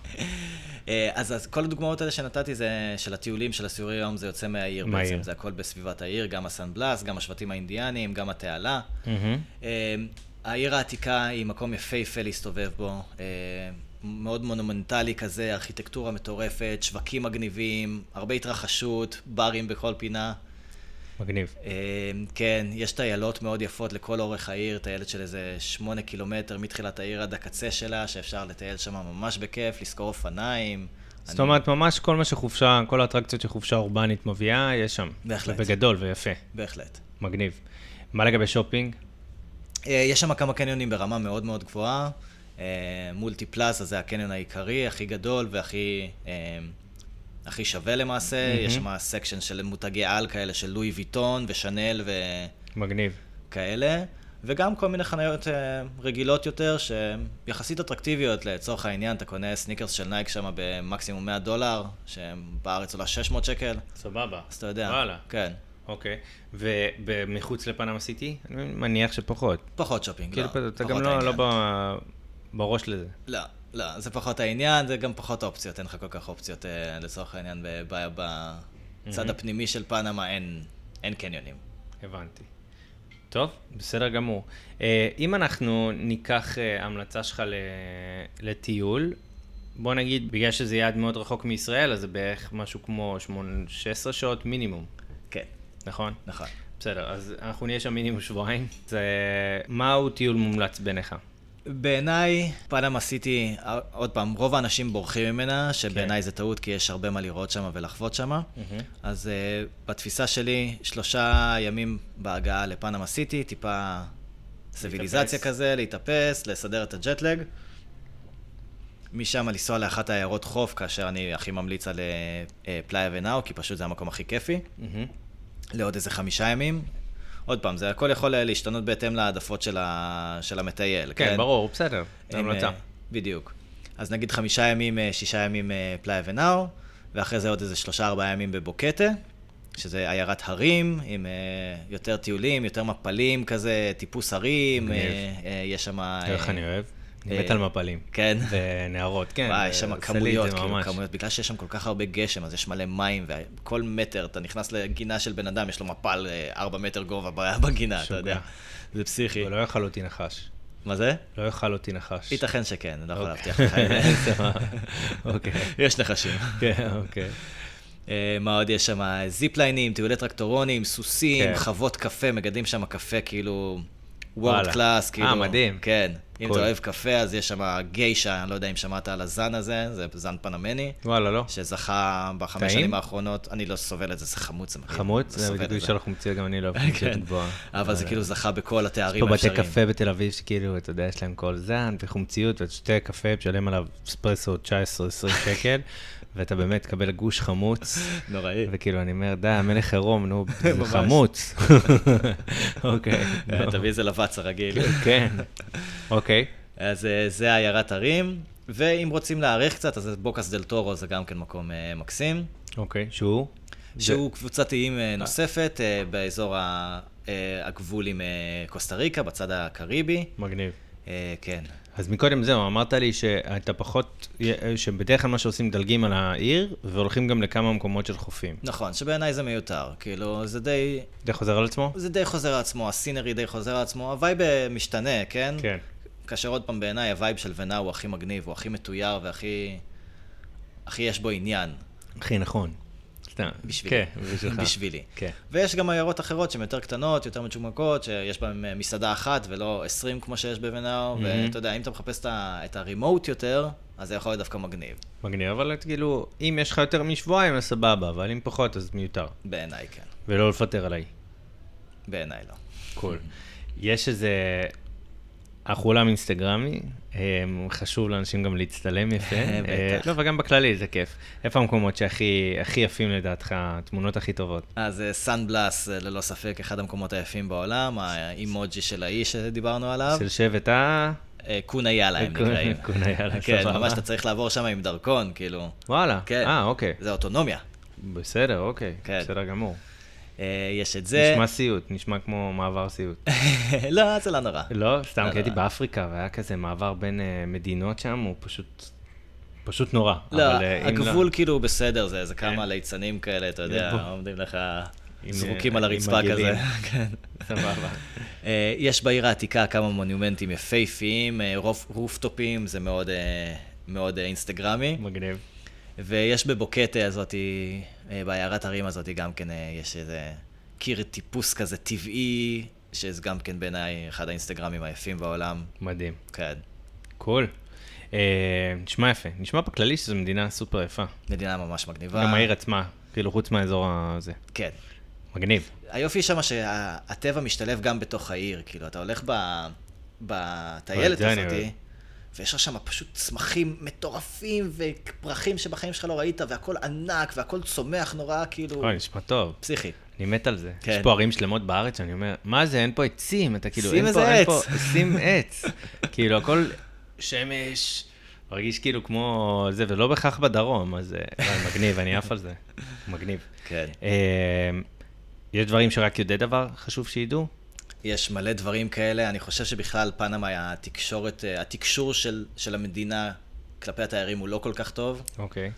Speaker 2: אה, אז, אז כל הדוגמאות האלה שנתתי זה של הטיולים, של הסיורי יום, זה יוצא מהעיר
Speaker 1: מהעיר.
Speaker 2: בעצם. זה הכל בסביבת העיר, גם הסן בלאס, גם השבטים האינדיאניים, גם התעלה.
Speaker 1: מהמם.
Speaker 2: אה, העיר העתיקה היא מקום יפהפה להסתובב בו, אה, מאוד מונומנטלי כזה, ארכיטקטורה מטורפת, שווקים מגניבים, הרבה התרחשות, ברים בכל פינה.
Speaker 1: מגניב.
Speaker 2: אה, כן, יש טיילות מאוד יפות לכל אורך העיר, טיילת של איזה שמונה קילומטר מתחילת העיר עד הקצה שלה, שאפשר לטייל שם ממש בכיף, לשכור אופניים.
Speaker 1: זאת
Speaker 2: אני-
Speaker 1: אומרת, ממש כל מה שחופשה, כל האטרקציות שחופשה אורבנית מביאה, יש שם.
Speaker 2: בהחלט.
Speaker 1: בגדול ויפה,
Speaker 2: בהחלט.
Speaker 1: מגניב. מה לגבי שופינג?
Speaker 2: אה, יש שם כמה קניונים ברמה מאוד מאוד גבוהה. אה, מולטי פלאזה זה הקניון העיקרי, הכי גדול והכי אה, הכי שווה למעשה. יש שם סקשן של מותגי על כאלה, של לואי ויטון ושנל
Speaker 1: מגניב.
Speaker 2: וכאלה. וגם כל מיני חניות אה, רגילות יותר, שהן יחסית אטרקטיביות לצורך העניין. אתה קונה סניקרס של נייק שם במקסימום 100 דולר, שבארץ עולה 600 שקל,
Speaker 1: סבבה.
Speaker 2: אז אתה יודע.
Speaker 1: וואלה.
Speaker 2: כן.
Speaker 1: אוקיי. ומחוץ לפנמה סיטי? אני מניח שפחות.
Speaker 2: פחות שופינג,
Speaker 1: כאילו,
Speaker 2: לא.
Speaker 1: אתה
Speaker 2: פחות
Speaker 1: גם לא- לא
Speaker 2: העניין.
Speaker 1: ב- בראש לזה.
Speaker 2: לא, לא, זה פחות העניין, זה גם פחות אופציות, אין לך כל כך אופציות אה, לצורך העניין ב- ב- בצד הפנימי של פנמה, אין, אין קניונים.
Speaker 1: הבנתי. טוב, בסדר גמור. אה, אם אנחנו ניקח אה, המלצה שלך ל... לטיול, בוא נגיד, בגלל שזה יעד מאוד רחוק מישראל, אז זה בערך משהו כמו שמונה- 16 שעות מינימום,
Speaker 2: כן,
Speaker 1: נכון?
Speaker 2: נכון.
Speaker 1: בסדר, אז אנחנו נהיה שם מינימום שבועיים. זה... מהו טיול מומלץ בעיניך?
Speaker 2: בעיניי, פנמה סיטי, אה, עוד פעם, רוב האנשים בורחים ממנה,
Speaker 1: כן.
Speaker 2: שבעיניי זה טעות, כי יש הרבה מה לראות שם ולחוות שם. אז אה, בתפיסה שלי, שלושה ימים בהגעה לפנמה סיטי, טיפה סביליזציה כזה, להתאפס, לסדר את הג'טלג. משם לנסוע לאחת העיירות חוף, כאשר אני הכי ממליץ על אה, אה, פלאיה ונאו, כי פשוט זה המקום הכי כיפי.
Speaker 1: מהמם.
Speaker 2: לעוד איזה חמישה ימים. עוד פעם, זה הכל יכול אה, להשתנות בהתאם להעדפות של, ה... של המטייל.
Speaker 1: כן, ברור, בסדר, זו
Speaker 2: אם,
Speaker 1: המלצה.
Speaker 2: אה, בדיוק. אז נגיד חמישה ימים, אה, שישה ימים אה, פלאי ונאו, ואחרי זה עוד איזה שלושה ארבעה ימים בבוקטה, שזה עיירת הרים, עם אה, יותר טיולים, יותר מפלים כזה, טיפוס הרים, אה,
Speaker 1: מגניב.
Speaker 2: אה, יש שם... אה,
Speaker 1: איך אני אוהב? אני
Speaker 2: אה,
Speaker 1: מת על מפלים.
Speaker 2: כן.
Speaker 1: ונערות, כן.
Speaker 2: וואי, יש
Speaker 1: זה
Speaker 2: שם
Speaker 1: עושה לי את זה
Speaker 2: כמויות, כאילו
Speaker 1: ממש.
Speaker 2: כמויות, בגלל שיש שם כל כך הרבה גשם, אז יש מלא מים, וכל מטר, אתה נכנס לגינה של בן אדם, יש לו מפל אה, ארבע מטר גובה ב- בגינה, אתה
Speaker 1: משוגע. לא
Speaker 2: יודע. זה פסיכי.
Speaker 1: ולא יאכל אותי נחש.
Speaker 2: מה זה?
Speaker 1: לא יאכל אותי נחש.
Speaker 2: ייתכן שכן, אני לא יכול
Speaker 1: אוקיי.
Speaker 2: להבטיח לך את זה.
Speaker 1: סבבה. אוקיי.
Speaker 2: יש נחשים.
Speaker 1: כן, אוקיי.
Speaker 2: אה, מה עוד יש שם? זיפליינים, טיולי טרקטורונים, סוסים,
Speaker 1: כן.
Speaker 2: חוות קפה, מגדלים שם קפה כאילו וורד
Speaker 1: וואלה.
Speaker 2: קלאס,
Speaker 1: אה,
Speaker 2: כאילו.
Speaker 1: מדהים.
Speaker 2: כן. אם
Speaker 1: קול.
Speaker 2: אתה אוהב קפה, אז יש שם גיישה, אני לא יודע אם שמעת על הזן הזה, זה זן פנמני,
Speaker 1: וואלה, לא.
Speaker 2: שזכה בחמש
Speaker 1: טעים?
Speaker 2: שנים האחרונות, אני לא סובל את זה, זה חמוץ, זה מגעיל.
Speaker 1: חמוץ,
Speaker 2: לא
Speaker 1: זה
Speaker 2: סובל את
Speaker 1: הביטוי
Speaker 2: זה.
Speaker 1: של החומציה, גם אני לא אוהב חומציות
Speaker 2: כן.
Speaker 1: גבוהה.
Speaker 2: אבל זה כאילו זכה בכל
Speaker 1: אה. יש
Speaker 2: התארים
Speaker 1: פה בתי
Speaker 2: האפשריים.
Speaker 1: קפה בתל אביב, שכאילו, אתה יודע, יש להם כל זן וחומציות, ואתה שותה קפה, משלם עליו אספרסו 19-20 שקל, ואתה באמת תקבל גוש חמוץ,
Speaker 2: נוראי.
Speaker 1: וכאילו, אני אומר, די, המלך עירום, נו, זה
Speaker 2: ממש.
Speaker 1: חמוץ. אוקיי.
Speaker 2: אה, תביא את זה לבץ הרגיל.
Speaker 1: כן. אוקיי.
Speaker 2: אז אה, זה עיירת הרים, ואם רוצים להאריך קצת, אז בוקאס דל טורו זה גם כן מקום אה, מקסים.
Speaker 1: אוקיי. שהוא?
Speaker 2: שהוא קבוצת איים אה, נוספת אה, באזור ה- אה, הגבול עם אה, קוסטה ריקה, בצד הקריבי.
Speaker 1: מגניב.
Speaker 2: אה, כן.
Speaker 1: אז מקודם זהו, אמרת לי שאתה פחות, שבדרך כלל מה שעושים, מדלגים על העיר, והולכים גם לכמה מקומות של חופים.
Speaker 2: נכון, שבעיניי זה מיותר. כאילו, זה די,
Speaker 1: זה חוזר על עצמו?
Speaker 2: זה די חוזר על עצמו, הסינרי די חוזר על עצמו, הווייב אה, משתנה, כן? כאשר עוד פעם בעיניי הווייב של ונאו הוא הכי מגניב, הוא הכי מתויר והכי... אחי, יש בו עניין.
Speaker 1: אחי, נכון. סתם.
Speaker 2: בשבילי.
Speaker 1: כן, בשבילך.
Speaker 2: בשבילי.
Speaker 1: כן.
Speaker 2: ויש גם עיירות אחרות שהן יותר קטנות, יותר מצ'ומקות, שיש בהן אה, מסעדה אחת ולא 20 כמו שיש בבן האו,
Speaker 1: מהמם.
Speaker 2: ואתה יודע, אם אתה מחפש את ה- את הרימוט יותר, אז זה יכול להיות דווקא מגניב,
Speaker 1: מגניב, אבל את כאילו, אם יש לך יותר משבועיים, אז סבבה, אבל אם פחות, אז מיותר.
Speaker 2: בעיניי כן,
Speaker 1: ולא לפטר עליי.
Speaker 2: בעיניי לא.
Speaker 1: קול. יש איזה... אנחנו עולם אינסטגרמי, אמ, חשוב לאנשים גם להצטלם יפה.
Speaker 2: בטח.
Speaker 1: אה, לא, וגם בכללי זה כיף. איפה המקומות שהכי הכי יפים לדעתך, התמונות הכי טובות?
Speaker 2: אז אה, סאנבלאס, אה, ללא ספק, אחד המקומות היפים בעולם, האימוג'י של האיש שדיברנו עליו,
Speaker 1: של שבט ה...
Speaker 2: אה, קונאיילה הם
Speaker 1: קונ-
Speaker 2: נקראים.
Speaker 1: קונאיילה,
Speaker 2: כן,
Speaker 1: סבבה.
Speaker 2: ממש אתה צריך לעבור שם עם דרכון, כאילו.
Speaker 1: וואלה.
Speaker 2: כן.
Speaker 1: אה, אוקיי.
Speaker 2: זה אוטונומיה.
Speaker 1: בסדר, אוקיי.
Speaker 2: כן.
Speaker 1: בסדר גמור.
Speaker 2: אה, יש את זה.
Speaker 1: נשמע סיוט, נשמע כמו מעבר סיוט.
Speaker 2: לא, זה לא נורא.
Speaker 1: לא, סתם,
Speaker 2: לא,
Speaker 1: כי הייתי
Speaker 2: לא.
Speaker 1: באפריקה, והיה כזה מעבר בין אה, מדינות שם, הוא פשוט... פשוט נורא.
Speaker 2: לא,
Speaker 1: אבל, אה, אם
Speaker 2: הגבול כאילו בסדר, זה איזה כמה
Speaker 1: כן.
Speaker 2: ליצנים כאלה, אתה יודע,
Speaker 1: בוא.
Speaker 2: עומדים לך
Speaker 1: עם-
Speaker 2: זרוקים על
Speaker 1: עם
Speaker 2: הרצפה כזה.
Speaker 1: אה, מגעילים.
Speaker 2: כן.
Speaker 1: לא, סבבה.
Speaker 2: אה, יש בעיר העתיקה כמה מונומנטים יפהפיים, אה, רוף- רופטופים, זה מאוד, אה, מאוד אה, אינסטגרמי.
Speaker 1: מגניב.
Speaker 2: ויש בבוקטה הזאת, אה, בעיירת הרים הזאת גם כן, אה, יש איזה קיר טיפוס כזה טבעי, שזה גם כן בעיניי אחד האינסטגרמים היפים בעולם.
Speaker 1: מדהים.
Speaker 2: כן,
Speaker 1: קול. אה, נשמע יפה. נשמע בכללי שזו מדינה סופר יפה.
Speaker 2: מדינה ממש מגניבה.
Speaker 1: גם העיר עצמה, כאילו חוץ מהאזור הזה.
Speaker 2: כן.
Speaker 1: מגניב.
Speaker 2: היופי שם שהטבע משתלב גם בתוך העיר, כאילו, אתה הולך ב... בטיילת
Speaker 1: זה אני
Speaker 2: הזאת,
Speaker 1: אוהב.
Speaker 2: ויש לך שם פשוט צמחים מטורפים ופרחים שבחיים שלך לא ראית, והכל ענק, והכל צומח נורא, כאילו,
Speaker 1: אוי, נשמע טוב.
Speaker 2: פסיכי.
Speaker 1: אני מת על זה.
Speaker 2: כן.
Speaker 1: יש פה ערים שלמות בארץ שאני אומר, מה זה, אין פה עצים, אתה כאילו,
Speaker 2: שים
Speaker 1: אין
Speaker 2: איזה
Speaker 1: פה, אין
Speaker 2: עץ."
Speaker 1: פה, שים עץ. כאילו, הכל שמש, מרגיש כאילו כמו זה, ולא בהכרח בדרום, אז אה, וואי, מגניב, אני עף על זה. מגניב.
Speaker 2: כן.
Speaker 1: אה, יש דברים שרק יודעי דבר, חשוב שידעו?
Speaker 2: יש מלא דברים כאלה, אני חושב שבכלל פנמה, התקשורת, אה, התקשור של, של המדינה כלפי התיירים הוא לא כל כך טוב.
Speaker 1: אוקיי.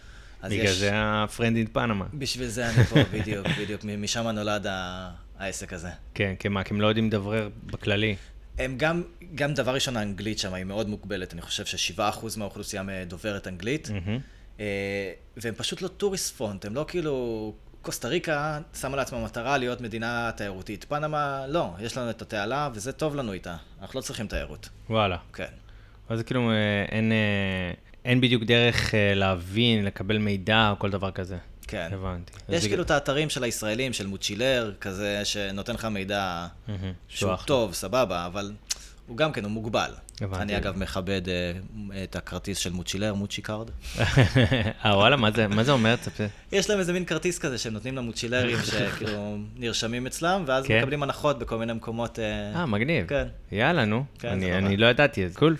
Speaker 2: אז
Speaker 1: בגלל
Speaker 2: יש-
Speaker 1: זה ה-friend in Panama.
Speaker 2: בשביל זה אני פה, בדיוק, בדיוק, משם נולד ה- העסק הזה.
Speaker 1: כן, כי מה, כי הם לא יודעים לדברר בכללי.
Speaker 2: הם גם, גם דבר ראשון, האנגלית שם היא מאוד מוגבלת, אני חושב ש-7% מהאוכלוסייה דוברת אנגלית,
Speaker 1: מהמם.
Speaker 2: אה, והם פשוט לא טוריסט פונט, הם לא כאילו... קוסטה ריקה שמה לעצמה מטרה להיות מדינה תיירותית. פנמה, לא, יש לנו את התעלה וזה טוב לנו איתה. אנחנו לא צריכים תיירות.
Speaker 1: וואלה.
Speaker 2: כן.
Speaker 1: אז זה כאילו אה, אין, אה, אין בדיוק דרך אה, להבין, לקבל מידע או כל דבר כזה.
Speaker 2: כן.
Speaker 1: הבנתי. אז
Speaker 2: יש
Speaker 1: בגלל-
Speaker 2: כאילו את האתרים של הישראלים, של מוצ'ילר, כזה, שנותן לך מידע
Speaker 1: מהמם.
Speaker 2: שהוא
Speaker 1: אחלה.
Speaker 2: טוב, סבבה, אבל הוא גם כן, הוא מוגבל.
Speaker 1: הבנתי.
Speaker 2: אני אגב מכבד אה, את הכרטיס של מוצ'ילר, מוצ'י קארד.
Speaker 1: אה, וואלה, מה זה, מה זה אומר? תספר.
Speaker 2: יש להם איזה מין כרטיס כזה שהם נותנים למוצ'ילרים, שכאילו נרשמים אצלם, ואז
Speaker 1: כן.
Speaker 2: מקבלים הנחות בכל מיני מקומות.
Speaker 1: אה, מגניב.
Speaker 2: כן.
Speaker 1: יאללה, נו.
Speaker 2: כן,
Speaker 1: אני,
Speaker 2: זה
Speaker 1: אני
Speaker 2: נורא.
Speaker 1: לא ידעתי, אז קול.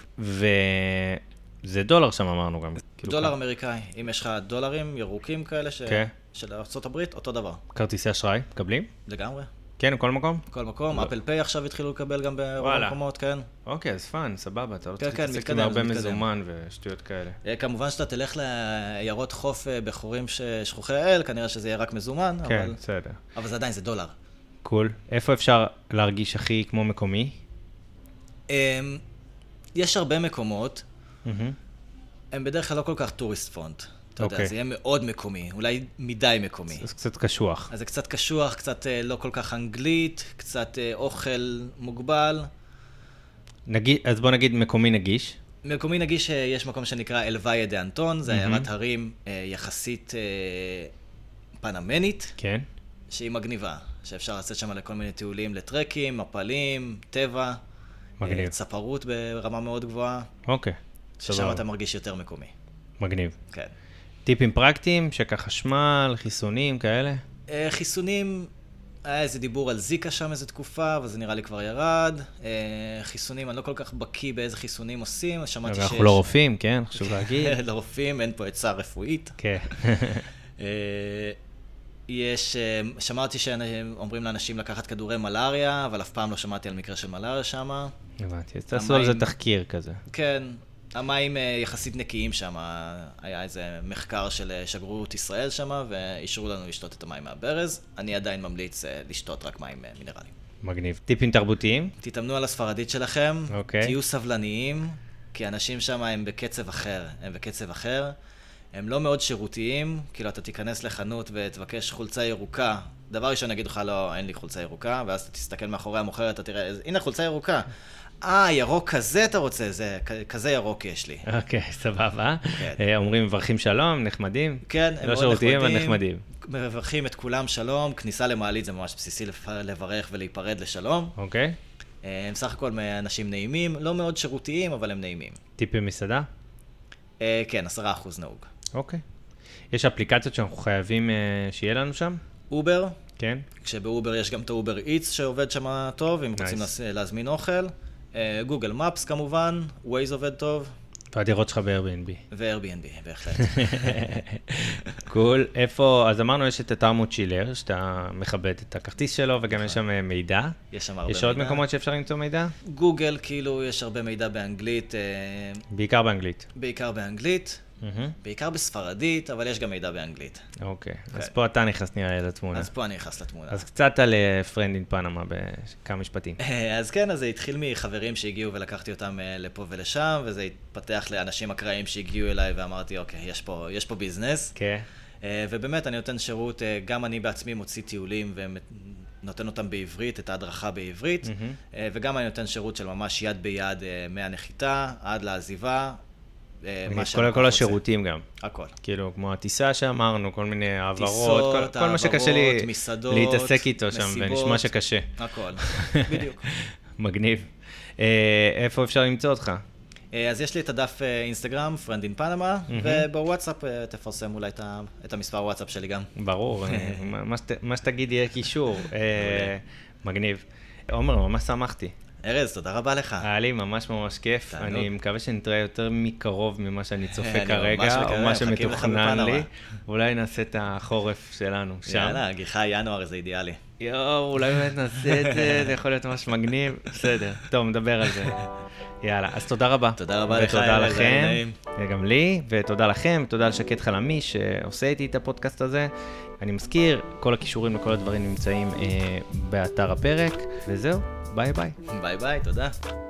Speaker 1: וזה דולר שם אמרנו גם. כאילו,
Speaker 2: דולר
Speaker 1: כ-
Speaker 2: אמריקאי, אם יש לך דולרים ירוקים כאלה ש-
Speaker 1: כן.
Speaker 2: של ארה"ב, אותו דבר,
Speaker 1: כרטיסי אשראי, מקבלים?
Speaker 2: לגמרי.
Speaker 1: כן, בכל מקום?
Speaker 2: בכל מקום,
Speaker 1: לא.
Speaker 2: אפל פיי עכשיו התחילו לקבל גם ברוב
Speaker 1: וואלה.
Speaker 2: המקומות, כן.
Speaker 1: אוקיי, אז פאן, סבבה, אתה לא
Speaker 2: כן,
Speaker 1: צריך
Speaker 2: כן,
Speaker 1: להתעסק עם
Speaker 2: מתקדם,
Speaker 1: הרבה
Speaker 2: מתקדם.
Speaker 1: מזומן ושטויות כאלה.
Speaker 2: אה, כמובן שאתה תלך לעיירות חוף אה, בחורים ש- שכוחי האל, כנראה שזה יהיה רק מזומן,
Speaker 1: כן,
Speaker 2: אבל-
Speaker 1: בסדר.
Speaker 2: אבל זה עדיין, זה דולר.
Speaker 1: קול. איפה אפשר להרגיש הכי כמו מקומי?
Speaker 2: אמ, יש הרבה מקומות,
Speaker 1: מהמם.
Speaker 2: הם בדרך כלל לא כל כך טוריסט פונט. אתה יודע,
Speaker 1: אוקיי.
Speaker 2: זה יהיה מאוד מקומי, אולי מדי מקומי.
Speaker 1: אז קצת קשוח.
Speaker 2: אז זה קצת קשוח, קצת אה, לא כל כך אנגלית, קצת אה, אוכל מוגבל.
Speaker 1: נגיד, אז בוא נגיד מקומי נגיש.
Speaker 2: מקומי נגיש, אה, יש מקום שנקרא אלוויה דה אנטון, זה
Speaker 1: מהמם.
Speaker 2: עיירת הרים אה, יחסית אה, פנמנית.
Speaker 1: כן.
Speaker 2: שהיא מגניבה, שאפשר לצאת שם לכל מיני טיולים, לטרקים, מפלים, טבע.
Speaker 1: מגניב.
Speaker 2: אה, צפרות ברמה מאוד גבוהה,
Speaker 1: אוקיי.
Speaker 2: ששם
Speaker 1: סבבה.
Speaker 2: אתה מרגיש יותר מקומי,
Speaker 1: מגניב.
Speaker 2: כן.
Speaker 1: טיפים פרקטיים, שקע חשמל, חיסונים, כאלה.
Speaker 2: אה, חיסונים, היה איזה דיבור על זיקה שם איזה תקופה, אבל זה נראה לי כבר ירד. אה, חיסונים, אני לא כל כך בקיא באיזה חיסונים עושים, אז שמעתי שיש...
Speaker 1: אנחנו לא רופאים, כן? חשוב להגיד.
Speaker 2: לרופאים, אין פה עצה רפואית.
Speaker 1: כן.
Speaker 2: אה, יש, אה, שמעתי שאומרים לאנשים לקחת כדורי מלאריה, אבל אף פעם לא שמעתי על מקרה של מלאריה שמה.
Speaker 1: הבנתי. אז תעשו על זה
Speaker 2: המים-
Speaker 1: תחקיר כזה.
Speaker 2: כן, המים אה, יחסית נקיים שם, היה איזה מחקר של אה, שגרירות ישראל שם, ואישרו לנו לשתות את המים מהברז. אני עדיין ממליץ אה, לשתות רק מים אה, מינרליים.
Speaker 1: מגניב. טיפים תרבותיים?
Speaker 2: תתאמנו על הספרדית שלכם,
Speaker 1: אוקיי.
Speaker 2: תהיו סבלניים, כי האנשים שם הם בקצב אחר, הם בקצב אחר. הם לא מאוד שירותיים, כאילו אתה תיכנס לחנות ותבקש חולצה ירוקה. דבר ראשון יגידו לך, לא, אין לי חולצה ירוקה, ואז אתה תסתכל מאחורי המוכרת, אתה תראה, "אז הנה חולצה ירוקה. אה, ירוק כזה אתה רוצה, זה, כ- כזה ירוק יש לי.
Speaker 1: אוקיי, סבבה.
Speaker 2: כן.
Speaker 1: אה, אומרים, מברכים שלום, נחמדים.
Speaker 2: כן, הם
Speaker 1: לא
Speaker 2: מאוד
Speaker 1: שירותיים, אבל
Speaker 2: נחמדים.
Speaker 1: נחמדים.
Speaker 2: מברכים את כולם שלום, כניסה למעלית זה ממש בסיסי לפ- לברך ולהיפרד לשלום.
Speaker 1: אוקיי?
Speaker 2: אה, הם סך הכל אנשים נעימים, לא מאוד שירותיים, אבל הם נעימים.
Speaker 1: טיפים מסעדה?
Speaker 2: אה, כן, עשרה אחוז נהוג.
Speaker 1: אוקיי. יש אפליקציות שאנחנו חייבים אה, שיהיה לנו שם?
Speaker 2: אובר,
Speaker 1: כן?
Speaker 2: כשבאובר יש גם את האובר איטס שעובד שם טוב, אם רוצים
Speaker 1: Nice.
Speaker 2: להס- להזמין אוכל. אה, גוגל מפס כמובן, ווייז עובד טוב,
Speaker 1: והדירות שלך ב-Airbnb.
Speaker 2: ו-Airbnb בהחלט.
Speaker 1: קול, איפה, אז אמרנו יש את אתר מוצ'ילר, שאתה מכבד את הכרטיס שלו, וגם יש שם אה, מידע.
Speaker 2: יש שם הרבה
Speaker 1: יש עוד
Speaker 2: מידע.
Speaker 1: מקומות שאפשר למצוא מידע?
Speaker 2: גוגל, כאילו, יש הרבה מידע באנגלית, אה,
Speaker 1: בעיקר באנגלית.
Speaker 2: בעיקר באנגלית,
Speaker 1: מהמם.
Speaker 2: בעיקר בספרדית, אבל יש גם מידע באנגלית.
Speaker 1: אוקיי, אז
Speaker 2: אוקיי.
Speaker 1: פה אתה נכנס נראה לי לתמונה.
Speaker 2: אז פה אני נכנס לתמונה.
Speaker 1: אז קצת על אה, פרנד אין פנמה בכמה משפטים.
Speaker 2: אז כן, אז זה התחיל מחברים שהגיעו ולקחתי אותם אה, לפה ולשם, וזה התפתח לאנשים אקראיים שהגיעו אליי ואמרתי, אוקיי, יש פה, יש פה ביזנס.
Speaker 1: כן.
Speaker 2: אה, ובאמת, אני נותן שירות, אה, גם אני בעצמי מוציא טיולים ונותן אותם בעברית, את ההדרכה בעברית,
Speaker 1: מהמם.
Speaker 2: אה, וגם אני נותן שירות של ממש יד ביד אה, מהנחיתה עד לעזיבה, אה, מה
Speaker 1: אוקיי, כל
Speaker 2: שהלקוח
Speaker 1: כל
Speaker 2: רוצה.
Speaker 1: השירותים גם.
Speaker 2: הכל.
Speaker 1: כאילו, כמו הטיסה שאמרנו, כל מיני העברות,
Speaker 2: טיסות,
Speaker 1: כל- כל מה שקשה
Speaker 2: העברות,
Speaker 1: לי
Speaker 2: מסעדות,
Speaker 1: להתעסק איתו שם,
Speaker 2: מסיבות.
Speaker 1: ונשמע שקשה.
Speaker 2: הכל, בדיוק.
Speaker 1: מגניב. אה, איפה אפשר למצוא אותך?
Speaker 2: אה, אז יש לי את הדף אה, אינסטגרם, Friend in Panama, ובוואטסאפ אה, תפרסם אולי את ה- את המספר וואטסאפ שלי גם.
Speaker 1: ברור, אה, מה- מה שת- מה שתגיד יהיה קישור. אה, מגניב. עומר, ממש שמחתי.
Speaker 2: ארז, תודה רבה לך.
Speaker 1: היה לי ממש ממש כיף.
Speaker 2: אה. תענוג.
Speaker 1: אני מקווה שנתראה יותר מקרוב ממה שאני צופה
Speaker 2: אני ממש
Speaker 1: כרגע, או
Speaker 2: מקווה,
Speaker 1: מה
Speaker 2: מחכים לך
Speaker 1: שמתוכנן לי.
Speaker 2: בפנמה.
Speaker 1: אולי נעשה את החורף שלנו שם.
Speaker 2: יאללה, הגיחה ינואר זה אידיאלי.
Speaker 1: יואו, אולי באמת נעשה את זה, זה יכול להיות ממש מגניב. בסדר, טוב, נדבר על זה. יאללה, אז תודה רבה.
Speaker 2: תודה רבה לך,
Speaker 1: ותודה
Speaker 2: ארז, היה
Speaker 1: לכם,
Speaker 2: נעים.
Speaker 1: וגם לי, ותודה לכם, תודה לשקד חלמי שעושה איתי את הפודקאסט הזה. אני מזכיר, כל הכישורים לכל הדברים נמצאים אה, באתר הפרק, וזהו, ביי ביי.
Speaker 2: ביי ביי, תודה.